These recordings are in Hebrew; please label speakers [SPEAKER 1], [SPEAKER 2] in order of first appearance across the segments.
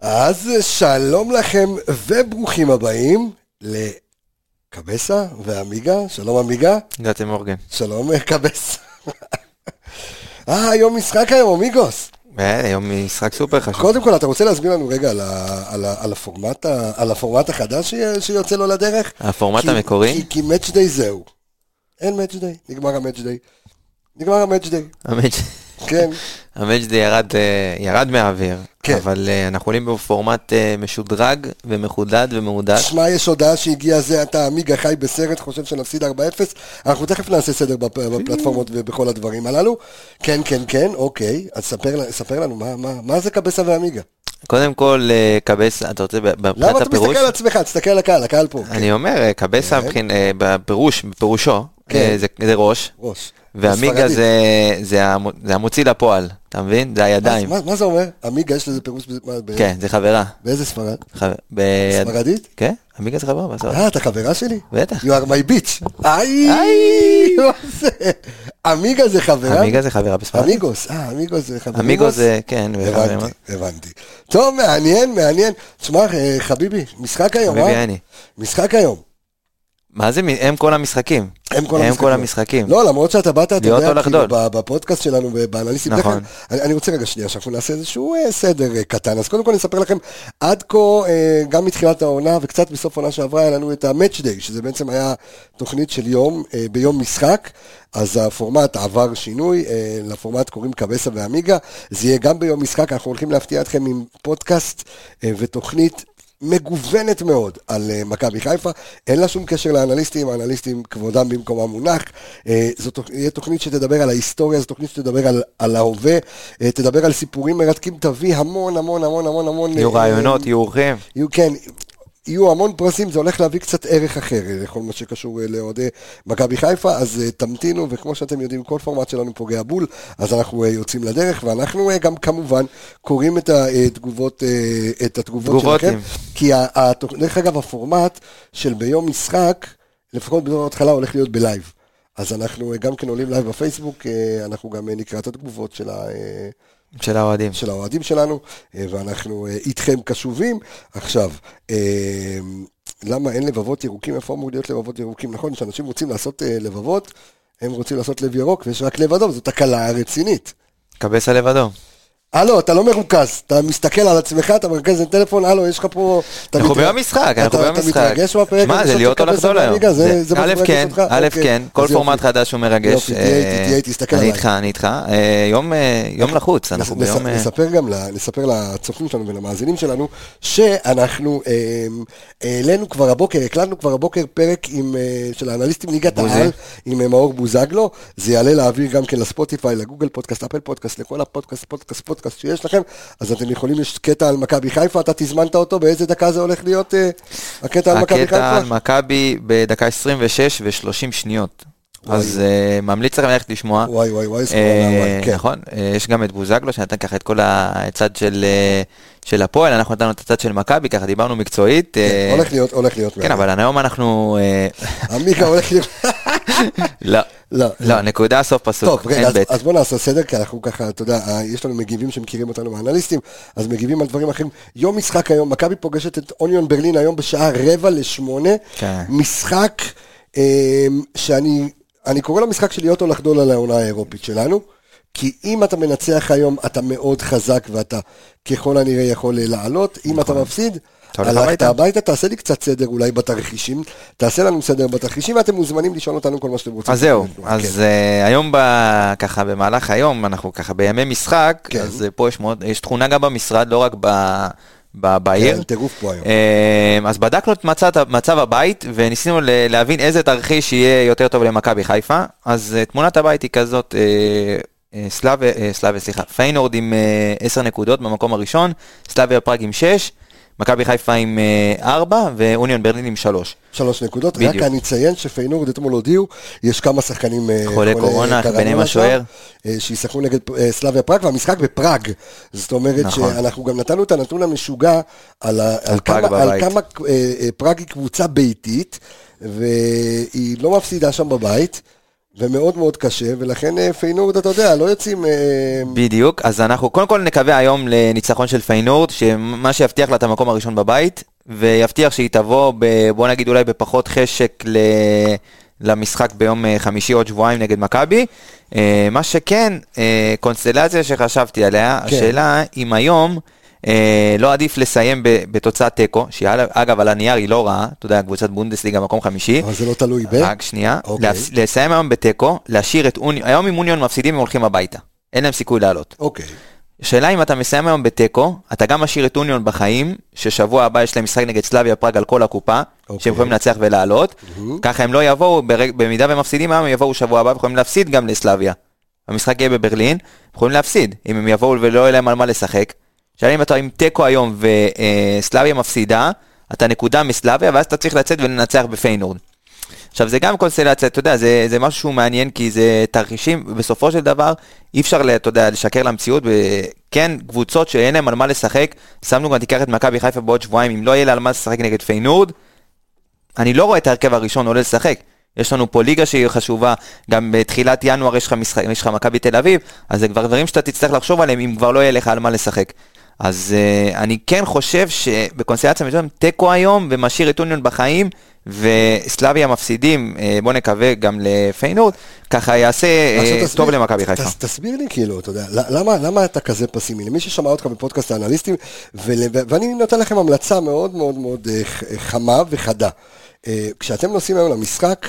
[SPEAKER 1] אז שלום לכם וברוכים הבאים לקבסה ועמיגה. שלום עמיגה,
[SPEAKER 2] הגעתם אורגן.
[SPEAKER 1] שלום אה, קבסה. אה, היום משחק היום, אמיגוס.
[SPEAKER 2] אה, היום משחק סופר חשוב.
[SPEAKER 1] קודם כל, אתה רוצה להסביר לנו רגע על, ה, על, ה, על, הפורמט, ה, על הפורמט החדש ש- שיוצא לו לדרך?
[SPEAKER 2] הפורמט
[SPEAKER 1] כי-
[SPEAKER 2] המקורי,
[SPEAKER 1] כי, כי מאץ' דיי זהו. אין מאץ' דיי, נגמר המאץ' דיי. נגמר המאץ' דיי, כן.
[SPEAKER 2] המג'די ירד, אה, ירד מהאוויר,
[SPEAKER 1] כן.
[SPEAKER 2] אבל אה, אנחנו עולים בפורמט אה, משודרג ומחודד ומהודד.
[SPEAKER 1] שמע, יש הודעה שהגיעה זה אתה עמיגה חי בסרט, חושב שנפסיד 4-0. אנחנו תכף נעשה סדר בפ- בפלטפורמות ובכל הדברים הללו. כן, כן, כן, אוקיי. אז ספר, ל- ספר לנו, מה, מה, מה זה קבסה ועמיגה?
[SPEAKER 2] קודם כל, אה, קבסה, אתה רוצה ב- מבחינת
[SPEAKER 1] למה אתה
[SPEAKER 2] הפירוש?
[SPEAKER 1] מסתכל על עצמך? תסתכל על הקהל, הקהל פה. כן,
[SPEAKER 2] אני אומר, אה, קבסה
[SPEAKER 1] כן.
[SPEAKER 2] מבחין- אה, בפירוש, בפירושו,
[SPEAKER 1] כן.
[SPEAKER 2] אה, זה- זה ראש,
[SPEAKER 1] ראש.
[SPEAKER 2] ועמיגה
[SPEAKER 1] בספרדית.
[SPEAKER 2] זה- זה המו- זה המוציא לפועל, אתה מבין? זה הידיים.
[SPEAKER 1] מה, מה זה אומר? עמיגה, יש לזה פירוש ב- מה- ב-
[SPEAKER 2] כן, זה חברה.
[SPEAKER 1] באיזה ספרד?
[SPEAKER 2] חבר- ב-
[SPEAKER 1] ספרדית?
[SPEAKER 2] כן, עמיגה זה חברה, בסדר.
[SPEAKER 1] אה, אתה חברה שלי?
[SPEAKER 2] בטח.
[SPEAKER 1] You are my bitch. איי!
[SPEAKER 2] איי.
[SPEAKER 1] מה זה? עמיגה זה חברה?
[SPEAKER 2] עמיגה זה חברה בספרד.
[SPEAKER 1] אמיגוס, אה, אמיגוס זה חברה.
[SPEAKER 2] עמיגו זה, כן, וחברים,
[SPEAKER 1] הבנתי, הבנתי. טוב, מעניין, מעניין. תשמע, אה, חביבי, משחק היום,
[SPEAKER 2] חביבי
[SPEAKER 1] אה?
[SPEAKER 2] אני.
[SPEAKER 1] משחק היום.
[SPEAKER 2] מה זה, מ- הם כל המשחקים.
[SPEAKER 1] הם כל
[SPEAKER 2] הם
[SPEAKER 1] המשחקים.
[SPEAKER 2] כל המשחקים.
[SPEAKER 1] לא, למרות שאתה באת, אתה
[SPEAKER 2] להיות או
[SPEAKER 1] יודע, כאילו,
[SPEAKER 2] לחדול.
[SPEAKER 1] ב- בפודקאסט שלנו, ב- באנליסטים.
[SPEAKER 2] נכון.
[SPEAKER 1] נכון. אני רוצה רגע שנייה, שאנחנו נעשה איזשהו אה, סדר אה, קטן. אז קודם כל נספר לכם, עד כה, אה, גם מתחילת העונה וקצת בסוף העונה שעברה, היה לנו את ה-Match Day, שזה בעצם היה תוכנית של יום, אה, ביום משחק. אז הפורמט עבר שינוי, אה, לפורמט קוראים קבסה ועמיגה. זה יהיה גם ביום משחק, אנחנו הולכים להפתיע אתכם עם פודקאסט אה, ותוכנית מגוונת מאוד על אה, מכבי חיפה, אין לה שום קשר לאנליסטים, האנליסטים כבודם במקומם מונח. אה, זו תוכ- תהיה תוכנית שתדבר על ההיסטוריה, זו תוכנית שתדבר על, על ההווה, אה, תדבר על סיפורים מרתקים, תביא המון המון המון המון המון...
[SPEAKER 2] יהיו
[SPEAKER 1] אה,
[SPEAKER 2] רעיונות, יהיו אורחים.
[SPEAKER 1] יהיו, כן, יהיו המון פרסים, זה הולך להביא קצת ערך אחר אה, לכל מה שקשור אה, לאוהדי מכבי חיפה, אז אה, תמתינו, וכמו שאתם יודעים, כל פורמט שלנו פוגע בול, אז אנחנו אה, יוצאים לדרך, ואנחנו אה, גם כמובן קוראים את התגובות, אה, את התגובות
[SPEAKER 2] תגובות,
[SPEAKER 1] שלכם,
[SPEAKER 2] אם.
[SPEAKER 1] כי ה- ה- דרך אגב, הפורמט של ביום משחק, לפחות בזמן ההתחלה, הולך להיות בלייב. אז אנחנו אה, גם כן עולים לייב בפייסבוק, אה, אנחנו גם אה, נקרא את התגובות של ה... אה,
[SPEAKER 2] של האוהדים.
[SPEAKER 1] של האוהדים שלנו, אה, ואנחנו אה, איתכם קשובים. עכשיו, אה, למה אין לבבות ירוקים? איפה אמור להיות לבבות ירוקים? נכון, כשאנשים רוצים לעשות אה, לבבות, הם רוצים לעשות לב ירוק, ויש רק לב אדום, זו תקלה רצינית.
[SPEAKER 2] קבסה לב אדום.
[SPEAKER 1] הלו, אתה לא מרוכז, אתה מסתכל על עצמך, אתה מרכז לטלפון, הלו, יש לך פה... אתה
[SPEAKER 2] אנחנו
[SPEAKER 1] מתרג-
[SPEAKER 2] ביום משחק,
[SPEAKER 1] אתה-
[SPEAKER 2] אנחנו ביום
[SPEAKER 1] אתה
[SPEAKER 2] משחק.
[SPEAKER 1] מתרגש מהפרק
[SPEAKER 2] שמע,
[SPEAKER 1] הראשון
[SPEAKER 2] זה
[SPEAKER 1] של
[SPEAKER 2] להיות או
[SPEAKER 1] קבסה
[SPEAKER 2] לחדול היום.
[SPEAKER 1] והליגה, זה-
[SPEAKER 2] זה-
[SPEAKER 1] זה מה
[SPEAKER 2] א'
[SPEAKER 1] שמרגש
[SPEAKER 2] כן,
[SPEAKER 1] אותך?
[SPEAKER 2] א'
[SPEAKER 1] אוקיי.
[SPEAKER 2] כן,
[SPEAKER 1] אז
[SPEAKER 2] כל
[SPEAKER 1] יופי.
[SPEAKER 2] פורמט חדש הוא מרגש.
[SPEAKER 1] יופי, תהיה איתי,
[SPEAKER 2] אה,
[SPEAKER 1] תהיה איתי, תסתכל
[SPEAKER 2] אני
[SPEAKER 1] עליי.
[SPEAKER 2] איתך, אני איתך. אה, יום, אה, יום לחוץ, אנחנו
[SPEAKER 1] נס-
[SPEAKER 2] ביום... אה,
[SPEAKER 1] נספר גם, ל- נספר לצופים שלנו ולמאזינים שלנו, שאנחנו אמ, העלינו כבר הבוקר, הקלטנו כבר הבוקר פרק עם, אה, של האנליסטים ליגת
[SPEAKER 2] בוזי.
[SPEAKER 1] העל, עם אה, מאור בוזגלו, זה יעלה לאוויר גם כן לספוטיפיי, לגוגל פודקאסט, אפל פודקאסט, לכל הפודקאסט, פודקאסט, פודקאסט שיש לכם, אז אתם יכולים, יש קטע על מכבי חיפה, אתה תזמנת אותו, באיזה דקה זה הולך להיות אה, הקטע על מכבי
[SPEAKER 2] הקטע
[SPEAKER 1] חיפה?
[SPEAKER 2] על מכבי בדקה 26 ו-30 שניות.
[SPEAKER 1] וואי.
[SPEAKER 2] אז אה, ממליץ לכם ללכת לשמוע.
[SPEAKER 1] וואי וואי וואי, איזה
[SPEAKER 2] אה,
[SPEAKER 1] קורונה, וואי, כן.
[SPEAKER 2] נכון, אה, יש גם את בוזגלו שנתן ככה את כל הצד של, אה, של הפועל, אנחנו נתנו את הצד של מכבי, ככה דיברנו מקצועית. אה,
[SPEAKER 1] כן, הולך להיות, הולך להיות.
[SPEAKER 2] כן,
[SPEAKER 1] מעניין.
[SPEAKER 2] אבל היום אנחנו... אה,
[SPEAKER 1] עמיקה הולך להיות...
[SPEAKER 2] לא,
[SPEAKER 1] לא,
[SPEAKER 2] לא, נקודה סוף פסוק,
[SPEAKER 1] טוב, רגע,
[SPEAKER 2] אין
[SPEAKER 1] אז,
[SPEAKER 2] בית.
[SPEAKER 1] אז בוא נעשה סדר, כי אנחנו ככה, אתה יודע, אה, יש לנו מגיבים שמכירים אותנו מהאנליסטים, אז מגיבים על דברים אחרים. יום משחק היום, מכבי פוגשת את אוניון ברלין היום בשעה רבע לשמונה.
[SPEAKER 2] כן.
[SPEAKER 1] משחק אה, שאני אני קורא לו משחק של להיות או לחדול על העונה האירופית שלנו. כי אם אתה מנצח היום, אתה מאוד חזק ואתה ככל הנראה יכול אה, לעלות. אם אתה מפסיד,
[SPEAKER 2] נכון. אתה הולך
[SPEAKER 1] הלכת
[SPEAKER 2] הביתה.
[SPEAKER 1] הביתה, תעשה לי קצת סדר אולי בתרחישים. תעשה לנו סדר בתרחישים, ואתם מוזמנים לשאול אותנו כל מה שאתם רוצים.
[SPEAKER 2] אז זהו,
[SPEAKER 1] כן.
[SPEAKER 2] אז אה, היום, ב- ככה במהלך היום, אנחנו ככה בימי משחק,
[SPEAKER 1] כן.
[SPEAKER 2] אז אה, פה יש מאוד- יש תכונה גם במשרד, לא רק ב- ב- בעיר.
[SPEAKER 1] כן, טירוף פה היום.
[SPEAKER 2] אמ, אז בדקנו את מצב, מצב הבית וניסינו ל- להבין איזה תרחיש יהיה יותר טוב למכבי חיפה. אז אה, תמונת הבית היא כזאת, אה, אה, סלאב, אה, סלאב, סליחה, פיינורד עם אה, 10 נקודות במקום הראשון, סלאביה פראג עם 6, מכבי חיפה עם 4 ואוניון ברלין עם 3.
[SPEAKER 1] שלוש נקודות.
[SPEAKER 2] בדיוק.
[SPEAKER 1] רק אני אציין שפיינורד אתמול הודיעו, יש כמה שחקנים... אה,
[SPEAKER 2] חולי קורונה,
[SPEAKER 1] קרנונה
[SPEAKER 2] ביניהם
[SPEAKER 1] שם,
[SPEAKER 2] השוער.
[SPEAKER 1] אה, שישחקו נגד אה, סלאביה פראג, והמשחק בפראג. זאת אומרת
[SPEAKER 2] נכון.
[SPEAKER 1] שאנחנו גם נתנו את הנתון המשוגע על, ה- על,
[SPEAKER 2] פראג
[SPEAKER 1] כמה, על
[SPEAKER 2] בבית.
[SPEAKER 1] כמה אה, אה, פראג היא קבוצה ביתית, והיא לא מפסידה שם בבית. ומאוד מאוד קשה, ולכן אה, פיינורד, אתה יודע, לא יוצאים... אה,
[SPEAKER 2] בדיוק, אז אנחנו קודם כל נקווה היום לניצחון של פיינורד, שמה שיבטיח לה את המקום הראשון בבית, ויבטיח שהיא תבוא, ב, בוא נגיד אולי בפחות חשק ל, למשחק ביום אה, חמישי עוד שבועיים נגד מכבי. אה, מה שכן, אה, קונסטלציה שחשבתי עליה,
[SPEAKER 1] כן.
[SPEAKER 2] כן. השאלה אם היום... אה, לא עדיף לסיים ב- בתוצאת תיקו, שהיא אגב על הנייר היא לא רעה, אתה יודע, קבוצת בונדסליגה מקום חמישי,
[SPEAKER 1] אבל זה לא תלוי ב...
[SPEAKER 2] רק שנייה,
[SPEAKER 1] אוקיי.
[SPEAKER 2] להפס- לסיים היום בתיקו, להשאיר את אוניון, היום אם אוניון מפסידים הם הולכים הביתה, אין להם סיכוי לעלות.
[SPEAKER 1] אוקיי.
[SPEAKER 2] השאלה אם אתה מסיים היום בתיקו, אתה גם משאיר את אוניון בחיים, ששבוע הבא יש להם משחק נגד סלאביה פראג על כל הקופה,
[SPEAKER 1] אוקיי.
[SPEAKER 2] שהם יכולים לנצח ולעלות, ככה הם לא יבואו, ברג- במידה והם מפסידים היום, הם יבואו שבוע הבא ויכולים להפסיד גם לסלאביה. המשחק יהיה בברלין, הם יכולים להפסיד, אם הם יבואו ולא יהיה להם על מה לשחק. שאלה אם אתה עם תיקו היום וסלאביה מפסידה, אתה נקודה מסלאביה, ואז אתה צריך לצאת ולנצח בפיינורד. עכשיו זה גם קונסטלציה, אתה יודע, זה, זה משהו שהוא מעניין כי זה תרחישים, ובסופו של דבר אי אפשר, ל- אתה יודע, לשקר למציאות, וכן, קבוצות שאין להן על מה לשחק, שמנו גם, תיקח את מכבי חיפה בעוד שבועיים, אם לא יהיה לה על מה לשחק נגד פיינורד, אני לא רואה את ההרכב הראשון עולה לשחק. יש לנו פה ליגה שהיא חשובה, גם בתחילת ינואר יש לך משחק- יש לך מכבי תל אביב, אז זה כבר דברים שאתה תצטרך לחשוב עליהם אם כבר לא יהיה לך על מה לשחק. אז uh, אני כן חושב שבקונסטלציה מסוים תיקו היום ומשאיר את אוניון בחיים וסלאביה מפסידים, uh, בוא נקווה גם לפיינורד, ככה יעשה
[SPEAKER 1] עכשיו
[SPEAKER 2] uh,
[SPEAKER 1] תסביר-
[SPEAKER 2] טוב למכבי חיפה.
[SPEAKER 1] תס- תסביר לי כאילו, אתה יודע, ל- למה, למה אתה כזה פסימי? למי ששמע אותך בפודקאסט האנליסטים, ול, ו- ואני נותן לכם המלצה מאוד מאוד מאוד אה, ח- אה, חמה וחדה. אה, כשאתם נוסעים היום למשחק,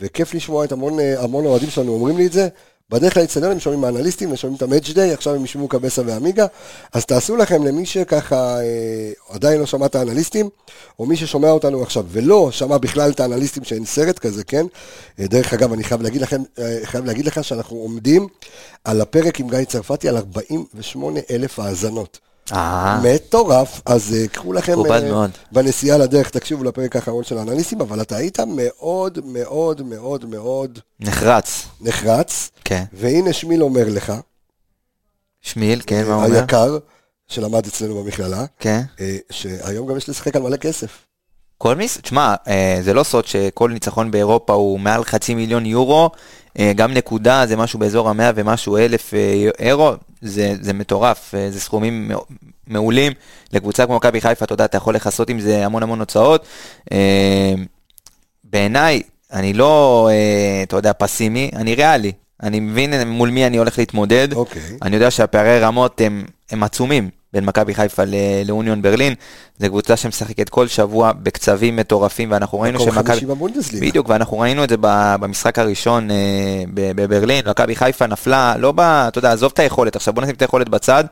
[SPEAKER 1] וכיף לשמוע את המון, אה, המון אוהדים שלנו אומרים לי את זה, בדרך לאצטדיון הם שומעים האנליסטים, הם שומעים את המאץ' דיי, עכשיו הם ישמעו קבסה ועמיגה, אז תעשו לכם למי שככה אה, עדיין לא שמע את האנליסטים, או מי ששומע אותנו עכשיו ולא שמע בכלל את האנליסטים שאין סרט כזה, כן? אה, דרך אגב, אני חייב להגיד, לכם, אה, חייב להגיד לך שאנחנו עומדים על הפרק עם גיא צרפתי על 48 אלף האזנות.
[SPEAKER 2] אה,
[SPEAKER 1] מטורף, אז אה, קחו לכם
[SPEAKER 2] מכובד
[SPEAKER 1] אה,
[SPEAKER 2] מאוד.
[SPEAKER 1] בנסיעה לדרך, תקשיבו לפרק האחרון של האנליסטים, אבל אתה היית מאוד מאוד מאוד מאוד
[SPEAKER 2] נחרץ.
[SPEAKER 1] נחרץ,
[SPEAKER 2] כן.
[SPEAKER 1] והנה שמיל אומר לך,
[SPEAKER 2] שמיל, כן, מה הוא אומר?
[SPEAKER 1] היקר, שלמד אצלנו במכללה,
[SPEAKER 2] כן.
[SPEAKER 1] אה, שהיום גם יש לשחק על מלא כסף.
[SPEAKER 2] כל מיס... תשמע, אה, זה לא סוד שכל ניצחון באירופה הוא מעל חצי מיליון יורו, אה, גם נקודה זה משהו באזור המאה ומשהו אלף אה, אירו, זה, זה מטורף, אה, זה סכומים מאו- מעולים. לקבוצה כמו מכבי חיפה, אתה יודע, אתה יכול לכסות עם זה המון המון הוצאות. אה, בעיניי, אני לא, אה, אתה יודע, פסימי, אני ריאלי. אני מבין מול מי אני הולך להתמודד.
[SPEAKER 1] אוקיי.
[SPEAKER 2] אני יודע שהפערי רמות הם, הם עצומים בין מכבי חיפה ל- לאוניון ברלין. זו קבוצה שמשחקת כל שבוע בקצבים מטורפים, ואנחנו ראינו
[SPEAKER 1] מקום
[SPEAKER 2] שמכבי...
[SPEAKER 1] חמישי בבונדסליגה.
[SPEAKER 2] בדיוק, ואנחנו ראינו את זה ב- במשחק הראשון אה, ב- בברלין, מכבי חיפה נפלה, לא ב... אתה יודע, עזוב את היכולת, עכשיו בוא נשים את היכולת בצד,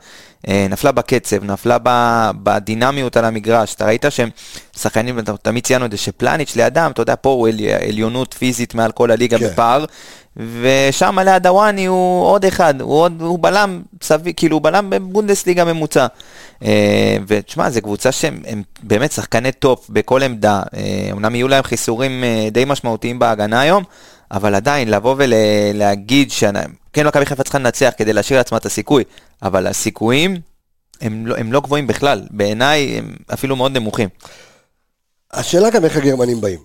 [SPEAKER 2] אה, נפלה בקצב, נפלה ב- בדינמיות על המגרש, אתה ראית שהם שחקנים, ואתה- תמיד ציינו את זה, שפלניץ' לידם, אתה יודע, פה הוא עלי- עליונות פיזית מעל כל הליגה
[SPEAKER 1] כן.
[SPEAKER 2] בפער, ושם ליד הוואני הוא עוד אחד, הוא עוד, הוא בלם, סבי, כאילו הוא בלם בבונדסליגה ממוצע. אה, ותשמע, זו קבוצה שהם הם באמת שחקני טופ בכל עמדה. אה, אמנם יהיו להם חיסורים אה, די משמעותיים בהגנה היום, אבל עדיין לבוא ולהגיד ש... כן, מכבי חיפה צריכה לנצח כדי להשאיר לעצמה את הסיכוי, אבל הסיכויים הם לא, הם לא גבוהים בכלל. בעיניי הם אפילו מאוד נמוכים.
[SPEAKER 1] השאלה גם איך הגרמנים באים.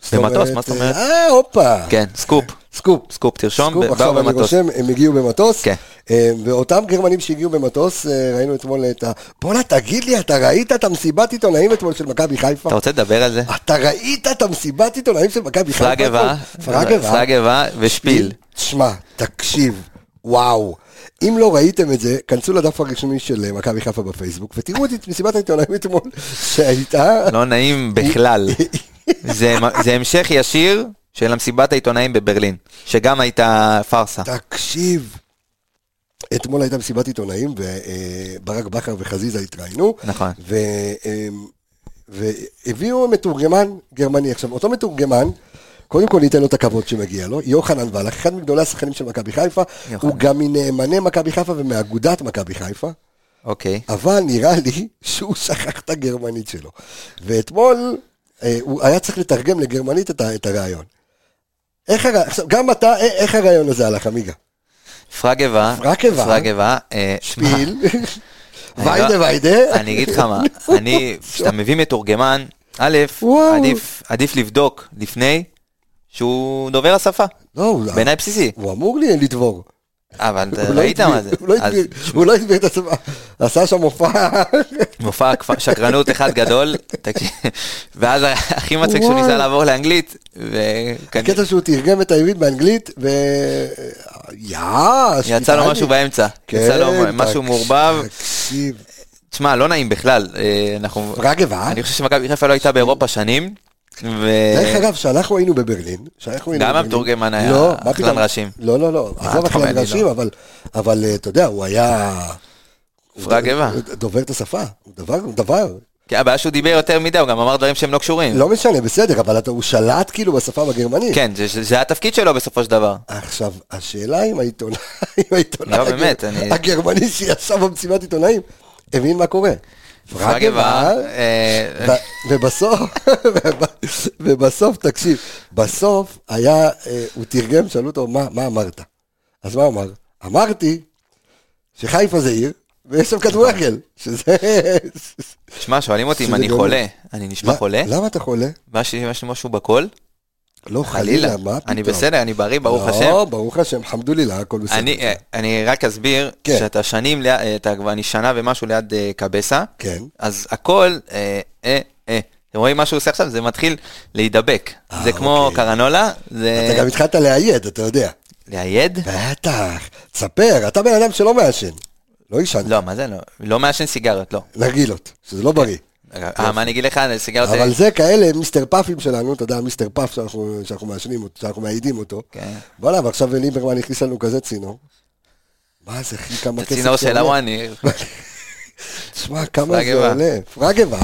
[SPEAKER 1] זאת
[SPEAKER 2] במטוס, מה זאת אומרת?
[SPEAKER 1] אה, הופה.
[SPEAKER 2] כן, סקופ,
[SPEAKER 1] סקופ.
[SPEAKER 2] סקופ, תרשום,
[SPEAKER 1] סקופ,
[SPEAKER 2] ב-
[SPEAKER 1] עכשיו
[SPEAKER 2] באו
[SPEAKER 1] אני
[SPEAKER 2] במטוס.
[SPEAKER 1] רושם, הם הגיעו במטוס.
[SPEAKER 2] כן.
[SPEAKER 1] אה, ואותם גרמנים שהגיעו במטוס, אה, ראינו אתמול את ה... בואנה, תגיד לי, אתה ראית את המסיבת עיתונאים אתמול של מכבי חיפה?
[SPEAKER 2] אתה רוצה לדבר על זה?
[SPEAKER 1] אתה ראית את המסיבת עיתונאים של מכבי חיפה?
[SPEAKER 2] פרגבה,
[SPEAKER 1] אתמול? פרגבה.
[SPEAKER 2] פרגבה ושפיל.
[SPEAKER 1] תשמע, תקשיב, וואו. אם לא ראיתם את זה, כנסו לדף הרשמי של אה, מכבי חיפה בפייסבוק, ותראו את מסיבת העיתונאים אתמול שהייתה.
[SPEAKER 2] לא נעים בכלל. זה, זה המשך ישיר של המסיבת העיתונאים בברלין, שגם הייתה פארסה.
[SPEAKER 1] תקשיב. אתמול הייתה מסיבת עיתונאים, וברק בכר וחזיזה התראיינו.
[SPEAKER 2] נכון.
[SPEAKER 1] ו, אה, והביאו מתורגמן גרמני. עכשיו, אותו מתורגמן, קודם כל ניתן לו את הכבוד שמגיע לו, יוחנן ואלך, אחד מגדולי השחקנים של מכבי חיפה,
[SPEAKER 2] יוחנן.
[SPEAKER 1] הוא גם מנאמני מכבי חיפה ומאגודת מכבי חיפה.
[SPEAKER 2] אוקיי.
[SPEAKER 1] אבל נראה לי שהוא שכח את הגרמנית שלו. ואתמול אה, הוא היה צריך לתרגם לגרמנית את, ה- את הרעיון. איך הר... עכשיו, גם אתה, א- איך הרעיון הזה הלך, עמיגה?
[SPEAKER 2] פרגבה,
[SPEAKER 1] פרגבה.
[SPEAKER 2] פרגבה, אה, שמע,
[SPEAKER 1] שפיל,
[SPEAKER 2] אני לא-
[SPEAKER 1] ויידה ויידה.
[SPEAKER 2] אני אגיד לך מה, אני, כשאתה מביא מתורגמן, א',
[SPEAKER 1] וואו.
[SPEAKER 2] עדיף- עדיף לבדוק לפני שהוא דובר השפה.
[SPEAKER 1] לא, הוא לא-
[SPEAKER 2] בעיניי בסיסי.
[SPEAKER 1] הוא אמור לי לדבור.
[SPEAKER 2] אבל
[SPEAKER 1] הוא לא
[SPEAKER 2] אה, ראית
[SPEAKER 1] הגביל-
[SPEAKER 2] מה זה.
[SPEAKER 1] הוא לא
[SPEAKER 2] אז
[SPEAKER 1] הגביל- הוא לא הגביל את עצמו, עשה שם מופע.
[SPEAKER 2] מופע כפ- שקרנות אחד גדול, תקשיב, ואז הכי מצחיק שהוא ניסה
[SPEAKER 1] וואי.
[SPEAKER 2] לעבור לאנגלית, וכנראה
[SPEAKER 1] הקטע שהוא תרגם את העברית באנגלית, ו... יאש,
[SPEAKER 2] יצא לו משהו באמצע,
[SPEAKER 1] כן,
[SPEAKER 2] יצא לו משהו מעורבב,
[SPEAKER 1] תקשיב,
[SPEAKER 2] תשמע לא נעים בכלל, אה, אנחנו,
[SPEAKER 1] רגב, אה?
[SPEAKER 2] אני חושב שמכבי חיפה לא הייתה באירופה שנים,
[SPEAKER 1] דרך
[SPEAKER 2] ו-
[SPEAKER 1] אגב, כשאנחנו היינו בברלין, כשאנחנו היינו
[SPEAKER 2] גם
[SPEAKER 1] בברלין-
[SPEAKER 2] המתורגמן היה
[SPEAKER 1] לא, מה
[SPEAKER 2] אכלן
[SPEAKER 1] פתאום?
[SPEAKER 2] ראשים.
[SPEAKER 1] לא, לא, לא, עזוב
[SPEAKER 2] אתה אומר
[SPEAKER 1] אכלן
[SPEAKER 2] לי
[SPEAKER 1] ראשים,
[SPEAKER 2] לא.
[SPEAKER 1] אבל- אבל אה, אתה יודע, הוא היה...
[SPEAKER 2] פרה גבה.
[SPEAKER 1] הוא דובר את השפה, הוא דבר, הוא דבר.
[SPEAKER 2] כי הבעיה שהוא דיבר יותר מדי, הוא גם אמר דברים שהם לא קשורים,
[SPEAKER 1] לא משנה, בסדר, אבל אתה- הוא שלט כאילו בשפה בגרמנית.
[SPEAKER 2] כן, זה- זה זה התפקיד שלו בסופו של דבר,
[SPEAKER 1] עכשיו, השאלה אם העיתונאי, אם העיתונאי
[SPEAKER 2] לא, באמת, אני-
[SPEAKER 1] הגרמני שישב במסיבת עיתונאים, הבין מה קורה.
[SPEAKER 2] פרה
[SPEAKER 1] פרגה
[SPEAKER 2] גבה,
[SPEAKER 1] בא,
[SPEAKER 2] אה,
[SPEAKER 1] ו- ובסוף, ובסוף, תקשיב, בסוף היה, אה, הוא תרגם, שאלו אותו, מה, מה אמרת? אז מה הוא אמר? אמרתי שחיפה זה עיר, ויש שם כדורגל, שזה...
[SPEAKER 2] שמע שואלים אותי אם
[SPEAKER 1] שזה
[SPEAKER 2] אני
[SPEAKER 1] גאוני.
[SPEAKER 2] חולה, אני נשמע חולה,
[SPEAKER 1] למה אתה חולה?
[SPEAKER 2] מה ש- יש לי משהו בקול,
[SPEAKER 1] לא,
[SPEAKER 2] חלילה,
[SPEAKER 1] חלילה, מה פתאום?
[SPEAKER 2] אני בסדר, אני בריא, ברוך השם.
[SPEAKER 1] לא, ברוך השם, חמדוללה, הכל בסדר.
[SPEAKER 2] אני, אה, אני רק אסביר,
[SPEAKER 1] כן.
[SPEAKER 2] שאתה שנים, ליד- אה, אתה כבר, אני שנה ומשהו ליד אה, קבסה,
[SPEAKER 1] כן.
[SPEAKER 2] אז הכל, אה, אה, אה, אתם רואים מה שהוא עושה עכשיו? זה מתחיל להידבק.
[SPEAKER 1] אה,
[SPEAKER 2] זה כמו
[SPEAKER 1] אוקיי.
[SPEAKER 2] קרנולה, זה
[SPEAKER 1] אתה גם התחלת לאייד, אתה יודע.
[SPEAKER 2] לאייד?
[SPEAKER 1] בטח, תספר, אתה בן אדם שלא מעשן. לא עישנת,
[SPEAKER 2] לא, מה זה לא? לא מעשן סיגריות, לא.
[SPEAKER 1] נרגילות, שזה לא בריא.
[SPEAKER 2] אה, מה אני אגיד לך? סיגריות... אה,
[SPEAKER 1] אבל זה כאלה מיסטר פאפים שלנו, אתה יודע, מיסטר פאף שאנחנו שאנחנו מעשנים אותו, שאנחנו מעידים אותו.
[SPEAKER 2] כן.
[SPEAKER 1] וואלה, ועכשיו ליברמן הכניס לנו כזה צינור. מה זה, אחי, כמה
[SPEAKER 2] זה
[SPEAKER 1] כסף
[SPEAKER 2] צינור
[SPEAKER 1] זה
[SPEAKER 2] של אה,
[SPEAKER 1] עולה?
[SPEAKER 2] הוואני.
[SPEAKER 1] תשמע, כמה
[SPEAKER 2] פרגבה. כן.
[SPEAKER 1] זה עולה. פרגבה.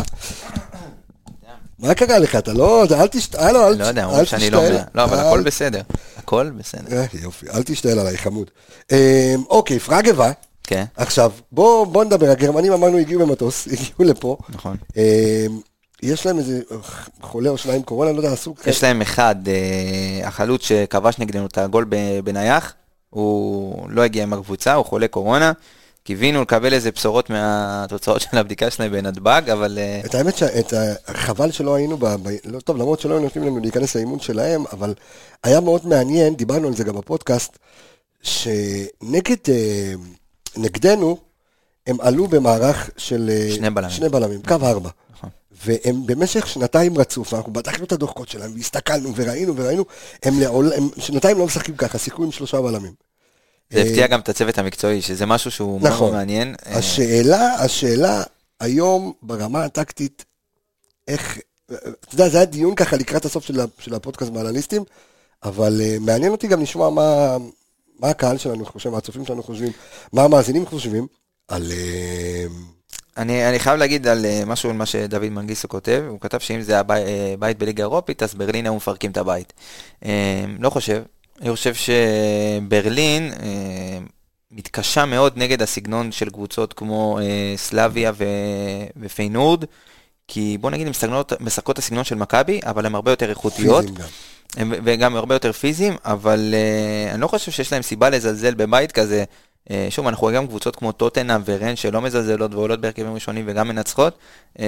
[SPEAKER 1] מה קרה לך? אתה לא, אל תשתעל, אל
[SPEAKER 2] לא יודע,
[SPEAKER 1] אל
[SPEAKER 2] אומרים שאני לא...
[SPEAKER 1] תשתעל. אה,
[SPEAKER 2] מ- לא, אבל
[SPEAKER 1] אל
[SPEAKER 2] הכל בסדר. הכל בסדר.
[SPEAKER 1] אה, יופי, אל תשתעל עליי, חמוד. אה, אוקיי, פרגבה.
[SPEAKER 2] כן.
[SPEAKER 1] עכשיו, בוא, בוא נדבר, הגרמנים אמרנו הגיעו במטוס, הגיעו לפה.
[SPEAKER 2] נכון.
[SPEAKER 1] אה, יש להם איזה חולה או שניים קורונה, לא יודע, עשו...
[SPEAKER 2] יש להם אחד, אה, החלוץ שכבש נגדנו את הגול ב- בנייח, הוא לא הגיע עם הקבוצה, הוא חולה קורונה. קיווינו לקבל איזה בשורות מהתוצאות של הבדיקה שלהם בנתב"ג, אבל אה,
[SPEAKER 1] את האמת שאת ה- חבל שלא היינו, ב, ב, לא טוב, למרות שלא היו נותנים לנו להיכנס לאימון שלהם, אבל היה מאוד מעניין, דיברנו על זה גם בפודקאסט, שנגד, אה, נגדנו, הם עלו במערך של... אה,
[SPEAKER 2] שני בלמים.
[SPEAKER 1] שני בלמים, קו ארבע.
[SPEAKER 2] נכון.
[SPEAKER 1] והם במשך שנתיים רצוף, אנחנו בדקנו את הדוחות שלהם, והסתכלנו וראינו וראינו, הם, לעול, הם שנתיים לא משחקים ככה, שיחקו עם שלושה בלמים.
[SPEAKER 2] זה הפתיע גם את הצוות המקצועי, שזה משהו שהוא
[SPEAKER 1] נכון.
[SPEAKER 2] מאוד מעניין. אה,
[SPEAKER 1] השאלה, השאלה היום ברמה הטקטית, איך, אתה יודע, זה היה דיון ככה לקראת הסוף של, ה- של הפודקאסט באנליסטים, אבל uh, מעניין אותי גם לשמוע מה, מה הקהל שלנו חושב, מה הצופים שלנו חושבים, מה המאזינים חושבים על... Uh,
[SPEAKER 2] אני אני חייב להגיד על אה, משהו, על מה שדוד מנגיסו כותב, הוא כתב שאם זה הבי- אה, בית בליגה האירופית, אז ברלין היו מפרקים את הבית. אה, לא חושב. אני חושב שברלין אה, מתקשה מאוד נגד הסגנון של קבוצות כמו אה, סלאביה ו- ופיינורד, כי בוא נגיד, הן מסגנות- משחקות את הסגנון של מכבי, אבל הן הרבה יותר איכותיות.
[SPEAKER 1] פיזים גם.
[SPEAKER 2] הם- וגם הרבה יותר פיזיים, אבל אה, אני לא חושב שיש להם סיבה לזלזל בבית כזה. אה, שוב, אנחנו רואים גם קבוצות כמו טוטנאם ורן שלא מזלזלות ועולות בהרכבים ראשונים וגם מנצחות. אה,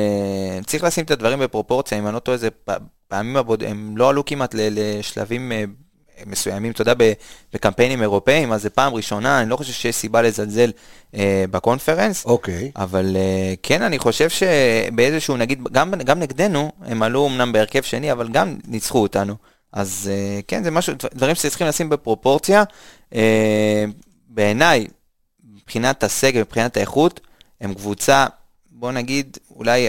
[SPEAKER 2] צריך לשים את הדברים בפרופורציה, אם אני לא טועה, זה פ- פעמים הבוד... הם לא עלו כמעט ל- לשלבים אה, מסוימים, אתה יודע, ב- בקמפיינים אירופאיים, אז זה פעם ראשונה, אני לא חושב שיש סיבה לזלזל אה, בקונפרנס.
[SPEAKER 1] אוקיי,
[SPEAKER 2] אבל אה, כן, אני חושב שבאיזשהו, נגיד, גם, גם נגדנו, הם עלו אמנם בהרכב שני, אבל גם ניצחו אותנו. אז אה, כן, זה משהו, דבר- דברים שצריכים לשים בפרופורציה. אה, בעיניי, מבחינת הסגל, מבחינת האיכות, הם קבוצה, בוא נגיד, אולי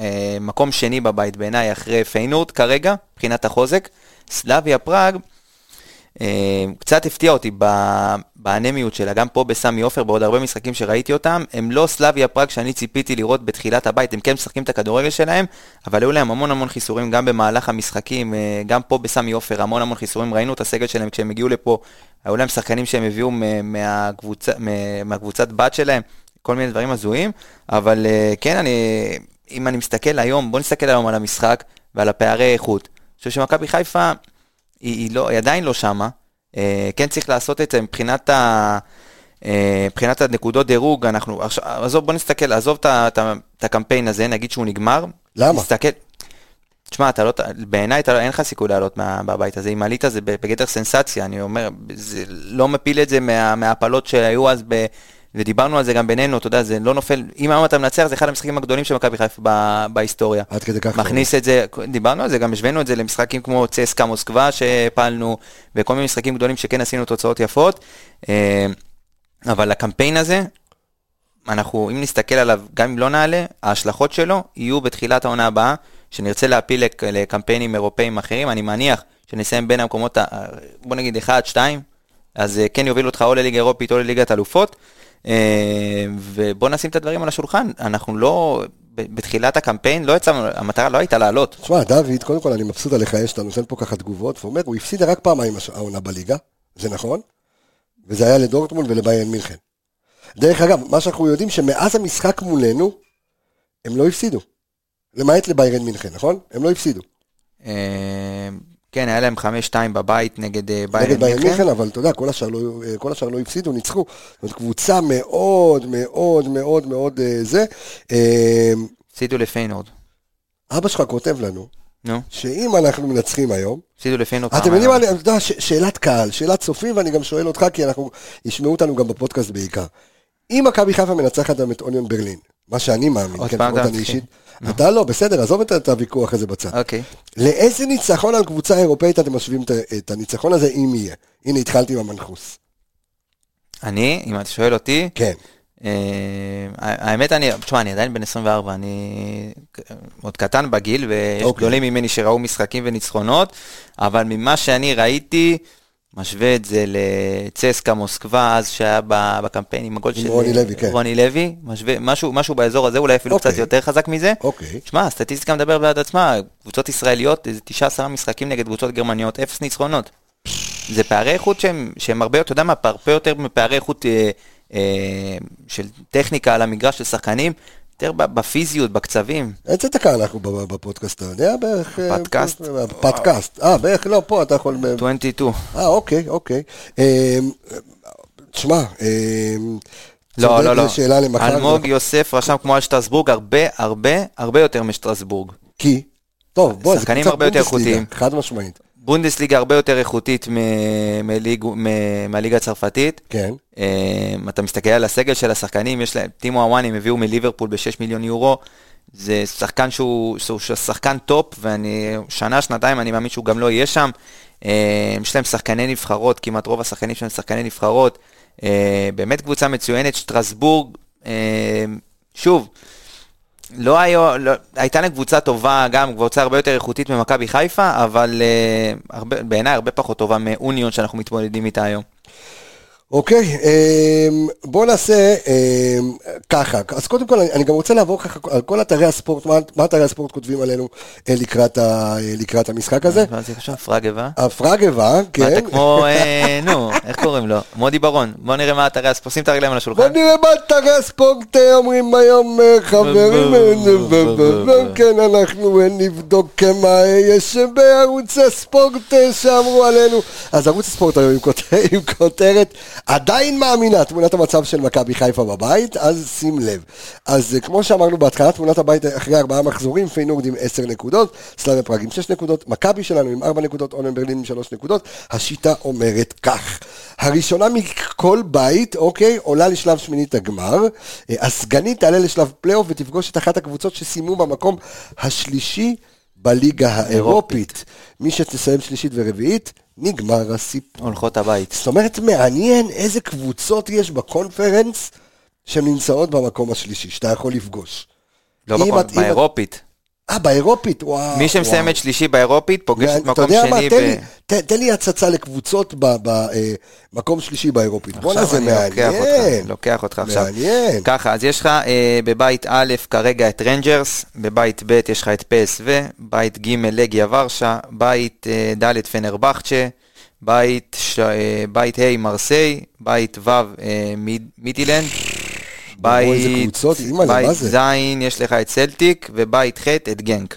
[SPEAKER 2] אה, מקום שני בבית בעיניי, אחרי פיינורד כרגע, מבחינת החוזק. סלאביה פראג, אה, קצת הפתיע אותי ב- באנמיות שלה, גם פה בסמי עופר, בעוד הרבה משחקים שראיתי אותם, הם לא סלאביה פראג שאני ציפיתי לראות בתחילת הבית, הם כן משחקים את הכדורגל שלהם, אבל היו להם המון המון חיסורים גם במהלך המשחקים, אה, גם פה בסמי עופר, המון המון חיסורים, ראינו את הסגל שלהם כשהם הגיעו לפה, היו להם שחקנים שהם הביאו מ- מהקבוצה, מ- מהקבוצת בת שלהם, כל מיני דברים הזויים, אבל אה, כן, אני, אם אני מסתכל היום, בוא נסתכל היום על המשחק ועל הפערי איכות. אני חושב שמכבי חיפה, היא, היא, לא, היא עדיין לא שמה. אה, כן צריך לעשות את זה מבחינת, ה, אה, מבחינת הנקודות דירוג, אנחנו, עכשיו, עזוב, בוא נסתכל, עזוב את ה- את ה- את הקמפיין הזה, נגיד שהוא נגמר.
[SPEAKER 1] למה?
[SPEAKER 2] נסתכל, תשמע, אתה לא, ת- בעיניי אתה לא- אין לך סיכוי לעלות מה- מהבית הזה, אם עלית זה בגדר סנסציה, אני אומר, זה לא מפיל את זה מה- מההפלות שהיו אז, ב, ודיברנו על זה גם בינינו, אתה יודע, זה לא נופל, אם היום אתה מנצח, זה אחד המשחקים הגדולים של מכבי חיפה ב- בהיסטוריה.
[SPEAKER 1] עד כדי כך.
[SPEAKER 2] מכניס את זה, דיברנו על זה, גם השווינו את זה למשחקים כמו צסקה מוסקבה שהפלנו, וכל מיני משחקים גדולים שכן עשינו תוצאות יפות. אה, אבל הקמפיין הזה, אנחנו, אם נסתכל עליו, גם אם לא נעלה, ההשלכות שלו יהיו בתחילת העונה הבאה, שנרצה להפיל לק- לקמפיינים אירופאים אחרים. אני מניח שנסיים בין המקומות, ה- בוא נגיד 1-2, אז אה, כן יוביל אותך או לליגה אירופית או לליגת אלופות. אה, ובוא נשים את הדברים על השולחן, אנחנו לא, ב- בתחילת הקמפיין לא יצאנו, המטרה לא הייתה לעלות.
[SPEAKER 1] תשמע, דוד, קודם כל אני מבסוט עליך, יש שאתה נותן פה ככה תגובות, ואומר, הוא הפסיד רק פעמיים הש- העונה בליגה, זה נכון, וזה היה לדורטמונד ולביין מינכן. דרך אגב, מה שאנחנו יודעים שמאז המשחק מולנו, הם לא הפסידו. למעט לביירן מינכן, נכון? הם לא הפסידו.
[SPEAKER 2] אה, כן, היה להם 5-2 בבית נגד אה,
[SPEAKER 1] נגד
[SPEAKER 2] ביירן
[SPEAKER 1] ביירן
[SPEAKER 2] מינכן.
[SPEAKER 1] מינכן, אבל אתה יודע, כל השאר, לא, כל השאר לא הפסידו, ניצחו. זאת קבוצה מאוד מאוד מאוד מאוד אה, זה. אה,
[SPEAKER 2] הפסידו לפיינורד.
[SPEAKER 1] אבא שלך כותב לנו,
[SPEAKER 2] נו,
[SPEAKER 1] שאם אנחנו מנצחים היום,
[SPEAKER 2] הפסידו לפיינורד.
[SPEAKER 1] אתם
[SPEAKER 2] פעמיים.
[SPEAKER 1] יודעים מה, אני- אתה יודע, ש- שאלת קהל, שאלת צופים, ואני גם שואל אותך, כי אנחנו, ישמעו אותנו גם בפודקאסט בעיקר. אם מכבי חיפה מנצחת גם את אוניון ברלין, מה שאני מאמין,
[SPEAKER 2] עוד
[SPEAKER 1] כן,
[SPEAKER 2] פעם
[SPEAKER 1] לפחות
[SPEAKER 2] אתה
[SPEAKER 1] אני
[SPEAKER 2] מתחיל.
[SPEAKER 1] אישית, אתה לא, בסדר, עזוב את- את הוויכוח הזה בצד.
[SPEAKER 2] אוקיי.
[SPEAKER 1] לאיזה ניצחון על קבוצה אירופאית אתם משווים את ה- את הניצחון הזה, אם יהיה? הנה, התחלתי עם המנחוס.
[SPEAKER 2] אני, אם אתה שואל אותי,
[SPEAKER 1] כן.
[SPEAKER 2] אה, האמת, אני, תשמע, אני עדיין בן 24, אני עוד קטן בגיל, ויש
[SPEAKER 1] אוקיי.
[SPEAKER 2] גדולים ממני שראו משחקים וניצחונות, אבל ממה שאני ראיתי, משווה את זה לצסקה מוסקבה, אז שהיה ב- בקמפיין עם הגול
[SPEAKER 1] עם
[SPEAKER 2] של
[SPEAKER 1] רוני לוי, כן.
[SPEAKER 2] רוני לוי, משווה, משהו, משהו באזור הזה, אולי אפילו
[SPEAKER 1] אוקיי.
[SPEAKER 2] קצת יותר חזק מזה.
[SPEAKER 1] אוקיי.
[SPEAKER 2] שמע, הסטטיסטיקה מדברת בעד עצמה, קבוצות ישראליות, איזה 19 משחקים נגד קבוצות גרמניות, אפס ניצחונות. זה פערי איכות שהם, שהם הרבה, אתה יודע מה, הרבה יותר מפערי איכות אה, אה, של טכניקה על המגרש של שחקנים, יותר ב- בפיזיות, בקצבים.
[SPEAKER 1] איזה דקה אנחנו ב- בפודקאסט, אתה יודע בערך? אה,
[SPEAKER 2] פודקאסט?
[SPEAKER 1] פודקאסט. אה, בערך לא, פה אתה יכול...
[SPEAKER 2] 22.
[SPEAKER 1] אה, אוקיי, אוקיי. אמ, תשמע, אמ,
[SPEAKER 2] לא,
[SPEAKER 1] צודק,
[SPEAKER 2] לא, לא.
[SPEAKER 1] זו שאלה למחר. לא-
[SPEAKER 2] אלמוג יוסף רשם כמו על שטרסבורג, הרבה, הרבה, הרבה יותר משטרסבורג.
[SPEAKER 1] כי, טוב, בוא, זה
[SPEAKER 2] שחקנים
[SPEAKER 1] קבוצת
[SPEAKER 2] הרבה יותר
[SPEAKER 1] בונדסליגה,
[SPEAKER 2] איכותיים.
[SPEAKER 1] חד משמעית,
[SPEAKER 2] בונדסליגה הרבה יותר איכותית מ- מליג- מ- מהליגה הצרפתית.
[SPEAKER 1] כן.
[SPEAKER 2] אמ, אתה מסתכל על הסגל של השחקנים, יש להם, טימו אוואני הם הביאו מליברפול ב-6 מיליון יורו, זה שחקן שהוא, שהוא שחקן טופ, ואני, שנה, שנתיים, אני מאמין שהוא גם לא יהיה שם. אמ, יש להם שחקני נבחרות, כמעט רוב השחקנים שלהם שחקני נבחרות. אמ, באמת קבוצה מצוינת, שטרסבורג, אמ, שוב, לא היה, לא, הייתה להם קבוצה טובה, גם קבוצה הרבה יותר איכותית ממכבי חיפה, אבל uh, הרבה, בעיניי הרבה פחות טובה מאוניון שאנחנו מתמודדים איתה היום.
[SPEAKER 1] אוקיי, אמ, בוא נעשה אמ, ככה. אז קודם כל, אני- אני גם רוצה לעבור ככה על כל אתרי הספורט, מה- מה אתרי הספורט כותבים עלינו אה, לקראת ה- אה, לקראת המשחק הזה.
[SPEAKER 2] מה זה עכשיו? פרגבה?
[SPEAKER 1] הפרגבה,
[SPEAKER 2] אה. מה,
[SPEAKER 1] כן.
[SPEAKER 2] אתה כמו, אה, נו, איך קוראים לו? מודי ברון, בוא נראה מה אתה רס, שים את הרגליים על
[SPEAKER 1] בוא
[SPEAKER 2] השולחן.
[SPEAKER 1] נראה מה אתרי הספורט אה, אומרים היום, אה, חברים. כן, אנחנו אה, נבדוק אה, מה אה, יש בערוץ הספורט אה, שאמרו עלינו. אז ערוץ הספורט היום עם כותר- עם כותרת, עדיין מאמינה, תמונת המצב של מכבי חיפה בבית, אז שים לב. אז אה, כמו שאמרנו בהתחלה, תמונת הבית אה, אחרי ארבעה מחזורים, פיינורד עם עשר נקודות, סלאביה פראג עם שש נקודות, מכבי שלנו עם ארבע נקודות, אונן ברלין עם שלוש נקודות. השיטה אומרת כך, הראשונה מכל בית, אוקיי, עולה לשלב שמינית הגמר, אה, הסגנית תעלה לשלב פלייאוף ותפגוש את אחת הקבוצות שסיימו במקום השלישי בליגה האירופית. מי שתסיים שלישית ורביעית, נגמר הסיפור.
[SPEAKER 2] הולכות הבית.
[SPEAKER 1] זאת אומרת, מעניין איזה קבוצות יש בקונפרנס שהן נמצאות במקום השלישי, שאתה יכול לפגוש.
[SPEAKER 2] לא
[SPEAKER 1] אם
[SPEAKER 2] בכל,
[SPEAKER 1] את- אם את-
[SPEAKER 2] באירופית.
[SPEAKER 1] אה, באירופית, וואו.
[SPEAKER 2] מי שמסיימת שלישי באירופית פוגשת
[SPEAKER 1] וואו. אתה
[SPEAKER 2] מקום
[SPEAKER 1] יודע מה,
[SPEAKER 2] שני
[SPEAKER 1] תן לי-
[SPEAKER 2] ב...
[SPEAKER 1] תן- תן לי הצצה לקבוצות במקום שלישי באירופית. בואנה, זה
[SPEAKER 2] עכשיו אני לוקח
[SPEAKER 1] מעניין.
[SPEAKER 2] אותך, לוקח אותך עכשיו.
[SPEAKER 1] מעניין.
[SPEAKER 2] ככה, אז יש לך אה, בבית א' כרגע את רנג'רס, בבית ב' יש לך את פסו, בית ג' לגיה ורשה, בית אה, ד' פנרבכצ'ה, בית, ש... אה, בית ה' מרסיי, בית ו' אה, מיד... מידילנד,
[SPEAKER 1] אוי, איזה
[SPEAKER 2] בית,
[SPEAKER 1] קבוצות, אימא'לה, מה
[SPEAKER 2] בית
[SPEAKER 1] זה?
[SPEAKER 2] ז' יש לך את סלטיק, ובית ח' את גנק.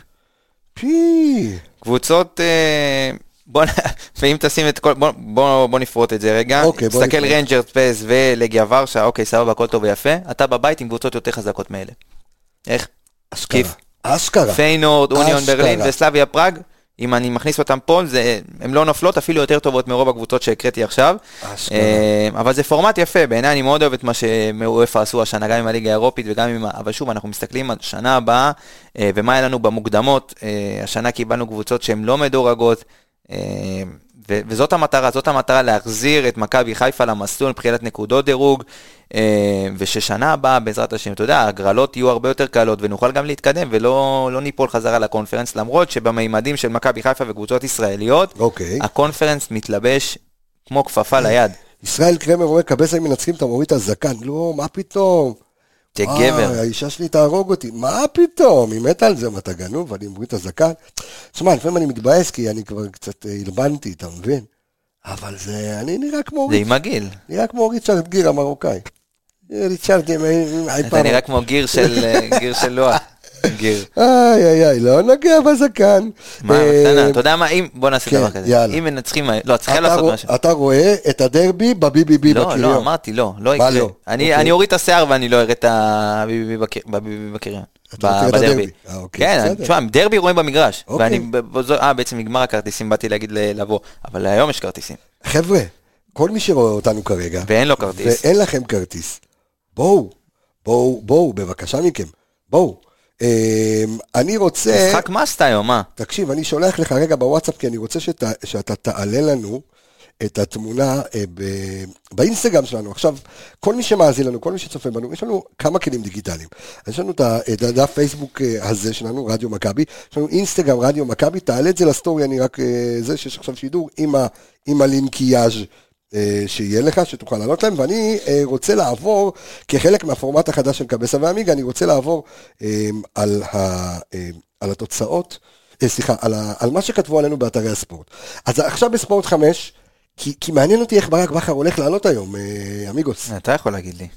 [SPEAKER 1] פי.
[SPEAKER 2] קבוצות, אה, בוא, נ- ואם תשים את כל, בוא, בוא, בוא נפרוט את זה רגע.
[SPEAKER 1] אוקיי, בוא
[SPEAKER 2] תסתכל
[SPEAKER 1] נפרוט.
[SPEAKER 2] רנג'רס, פס ולגיה ורשה, אוקיי, סבבה, הכל טוב ויפה. אתה בבית עם קבוצות יותר חזקות מאלה. איך?
[SPEAKER 1] אשכרה.
[SPEAKER 2] כיף.
[SPEAKER 1] אשכרה.
[SPEAKER 2] פיינורד, אוניון
[SPEAKER 1] אשכרה.
[SPEAKER 2] ברלין וסלאביה פראג, אם אני מכניס אותם פה, זה- הן לא נופלות, אפילו יותר טובות מרוב הקבוצות שהקראתי עכשיו.
[SPEAKER 1] אשכרה.
[SPEAKER 2] אה, אבל זה פורמט יפה, בעיניי אני מאוד אוהב את מה שמאופה עשו השנה, גם עם הליגה האירופית וגם עם... ה- אבל שוב, אנחנו מסתכלים על שנה הבאה, אה, ומה היה לנו במוקדמות. אה, השנה קיבלנו קבוצות שהן לא מדורגות. אה, ו- וזאת המטרה, זאת המטרה להחזיר את מכבי חיפה למסלול מבחינת נקודות דירוג, אה, וששנה הבאה, בעזרת השם, אתה יודע, ההגרלות יהיו הרבה יותר קלות, ונוכל גם להתקדם, ולא לא ניפול חזרה לקונפרנס, למרות שבמימדים של מכבי חיפה וקבוצות ישראליות,
[SPEAKER 1] אוקיי.
[SPEAKER 2] הקונפרנס מתלבש כמו כפפה ליד.
[SPEAKER 1] ישראל קרמר אומר, קבסה אם מנצחים אתה מוריד את הזקן. לא, מה פתאום?
[SPEAKER 2] כגבר.
[SPEAKER 1] וואי, האישה שלי תהרוג אותי. מה פתאום? היא מתה על זה, מה אתה גנוב? אני מוריד את הזקן? תשמע, לפעמים אני מתבאס כי אני כבר קצת אה, הלבנתי, אתה מבין? אבל זה, אני נראה כמו
[SPEAKER 2] זה
[SPEAKER 1] אורית,
[SPEAKER 2] עם הגיל.
[SPEAKER 1] נראה כמו ריצ'רד גיר המרוקאי. אה, ריצ'רד עם עם- עם
[SPEAKER 2] אתה
[SPEAKER 1] פעם.
[SPEAKER 2] נראה כמו גיר של אה, גיר של לוע. גיר.
[SPEAKER 1] אה, איי איי איי, לא נוגע בזקן.
[SPEAKER 2] מה,
[SPEAKER 1] אה,
[SPEAKER 2] מתנה, אתה יודע מה, אם, בוא נעשה
[SPEAKER 1] כן,
[SPEAKER 2] דבר כזה.
[SPEAKER 1] יאללה.
[SPEAKER 2] אם מנצחים, לא, צריכה
[SPEAKER 1] אתה
[SPEAKER 2] לעשות
[SPEAKER 1] רוא-
[SPEAKER 2] משהו.
[SPEAKER 1] אתה רואה את הדרבי בביביבי
[SPEAKER 2] לא, לא,
[SPEAKER 1] בקריון.
[SPEAKER 2] אמרתי, לא, לא
[SPEAKER 1] מה
[SPEAKER 2] יקרה.
[SPEAKER 1] לא?
[SPEAKER 2] אני
[SPEAKER 1] אוקיי.
[SPEAKER 2] אני אוריד את השיער ואני לא אראה את הביבי בקר- בביבי בקריון.
[SPEAKER 1] אתה רוצה
[SPEAKER 2] ב-
[SPEAKER 1] את
[SPEAKER 2] בדרבי.
[SPEAKER 1] הדרבי. אה, אוקיי,
[SPEAKER 2] כן,
[SPEAKER 1] בסדר.
[SPEAKER 2] אני- תשמע, דרבי רואים במגרש.
[SPEAKER 1] אוקיי.
[SPEAKER 2] ואני, ב- ב- זו- אה, בעצם נגמר הכרטיסים, באתי להגיד ל- לבוא. אבל היום יש כרטיסים,
[SPEAKER 1] חבר'ה, כל מי שרואה אותנו כרגע,
[SPEAKER 2] ואין לו כרטיס.
[SPEAKER 1] ואין לכם כרטיס. בואו, בואו, בואו, בבקשה מכם, בואו. אמ, אני רוצה,
[SPEAKER 2] משחק מאסט היום, אה. מה?
[SPEAKER 1] תקשיב, אני שולח לך רגע בוואטסאפ, כי אני רוצה שת, שאתה תעלה לנו את התמונה אה, ב, באינסטגרם שלנו. עכשיו, כל מי שמאזין לנו, כל מי שצופה בנו, יש לנו כמה כלים דיגיטליים. אז יש לנו את ה- את הדף פייסבוק אה, הזה שלנו, רדיו מכבי, יש לנו אינסטגרם, רדיו מכבי, תעלה את זה לסטורי, אני רק, אה, זה שיש עכשיו שידור עם, ה, עם הלינקיאז'. אה, שיהיה לך, שתוכל לעלות להם, ואני אה, רוצה לעבור, כחלק מהפורמט החדש של קבסה ועמיגה, אני רוצה לעבור אה, על, ה, אה, על התוצאות, אה, סליחה, על, ה, על מה שכתבו עלינו באתרי הספורט. אז עכשיו בספורט 5, כי, כי מעניין אותי איך ברק בכר הולך לעלות היום, אה, אמיגוס.
[SPEAKER 2] אתה יכול להגיד לי.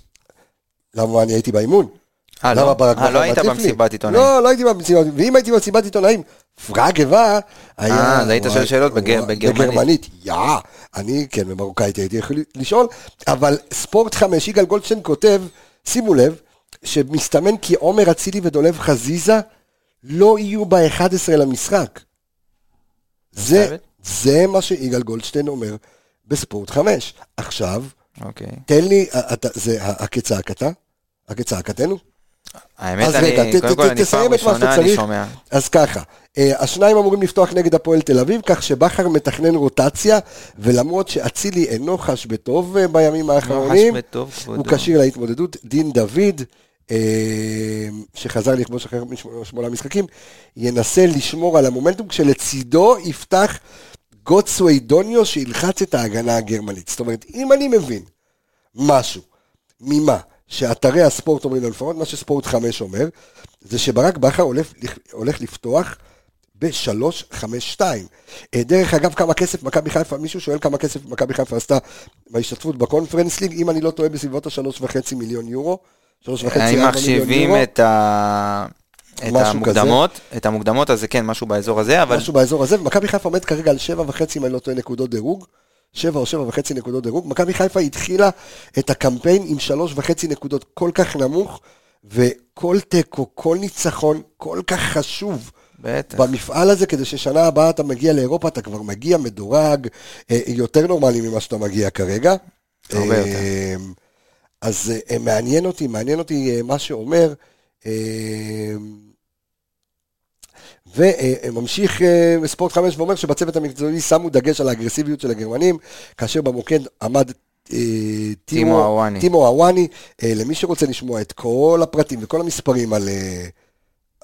[SPEAKER 1] למה אני הייתי באימון?
[SPEAKER 2] אה,
[SPEAKER 1] למה
[SPEAKER 2] לא?
[SPEAKER 1] ברק
[SPEAKER 2] אה,
[SPEAKER 1] בכר
[SPEAKER 2] לא היית
[SPEAKER 1] מטיף לי?
[SPEAKER 2] במסיבת עיתונאים.
[SPEAKER 1] לא, לא הייתי במסיבת עיתונאים. ואם הייתי במסיבת עיתונאים, פראג איבה היה...
[SPEAKER 2] אה, אז היית שואל
[SPEAKER 1] וואי,
[SPEAKER 2] שאלות בגר-
[SPEAKER 1] וואי,
[SPEAKER 2] בגרמנית.
[SPEAKER 1] בגרמנית, יאה. אני, כן, במרוקאית הייתי יכול לשאול, אבל ספורט חמש, יגאל גולדשטיין כותב, שימו לב, שמסתמן כי עומר אצילי ודולב חזיזה לא יהיו ב-11 למשחק. זה,
[SPEAKER 2] מסתבר?
[SPEAKER 1] זה מה שיגאל גולדשטיין אומר בספורט חמש. עכשיו,
[SPEAKER 2] אוקיי.
[SPEAKER 1] תן לי, אה, אתה- זה הכצעקתה? הכצעקתנו?
[SPEAKER 2] האמת,
[SPEAKER 1] אז רגע,
[SPEAKER 2] אני,
[SPEAKER 1] ת-
[SPEAKER 2] קודם
[SPEAKER 1] ת-
[SPEAKER 2] כל, אני
[SPEAKER 1] תסיים
[SPEAKER 2] פעם
[SPEAKER 1] את מה שאתה
[SPEAKER 2] ראשונה אני
[SPEAKER 1] צריך.
[SPEAKER 2] שומע.
[SPEAKER 1] אז ככה, אה, השניים אמורים לפתוח נגד הפועל תל אביב, כך שבכר מתכנן רוטציה, ולמרות שאצילי אינו חש בטוב אה, בימים האחרונים,
[SPEAKER 2] ממש לא בטוב, כבודו.
[SPEAKER 1] הוא כשיר להתמודדות, דין דוד, אה, שחזר לכבוש אחרי משמונה- שמונה משחקים, ינסה לשמור על המומנטום, כשלצידו יפתח גוטסווידוניו שילחץ את ההגנה הגרמנית. זאת אומרת, אם אני מבין משהו, ממה? שאתרי הספורט אומרים לו, לפחות מה שספורט 5 אומר, זה שברק בכר הולך, הולך לפתוח ב-352. אה, דרך אגב, כמה כסף מכבי חיפה, מישהו שואל כמה כסף מכבי חיפה עשתה בהשתתפות בקונפרנס ליג, אם אני לא טועה, בסביבות ה-3.5 מיליון יורו. 3.5
[SPEAKER 2] אם
[SPEAKER 1] ארבע מיליון
[SPEAKER 2] מחשיבים
[SPEAKER 1] יורו,
[SPEAKER 2] את ה... את
[SPEAKER 1] משהו
[SPEAKER 2] המוקדמות, את המוקדמות אז זה כן משהו באזור הזה, אבל
[SPEAKER 1] משהו באזור הזה, ומכבי חיפה עומד כרגע על 7.5, אם אני לא טועה, נקודות דירוג. 7 או 7.5 נקודות דירוג. מכבי חיפה התחילה את הקמפיין עם 3.5 נקודות כל כך נמוך, וכל תיקו, כל ניצחון, כל כך חשוב.
[SPEAKER 2] בטח.
[SPEAKER 1] במפעל הזה, כדי ששנה הבאה אתה מגיע לאירופה, אתה כבר מגיע מדורג, אה, יותר נורמלי ממה שאתה מגיע כרגע.
[SPEAKER 2] הרבה
[SPEAKER 1] אה,
[SPEAKER 2] יותר.
[SPEAKER 1] אז אה, מעניין אותי, מעניין אותי אה, מה שאומר. אה, אה, וממשיך אה, ספורט 5 ואומר שבצוות המקצועי שמו דגש על האגרסיביות של הגרמנים, כאשר במוקד עמד אה,
[SPEAKER 2] טימו הוואני.
[SPEAKER 1] טימו הוואני. אה, למי שרוצה לשמוע את כל הפרטים וכל המספרים על... אה,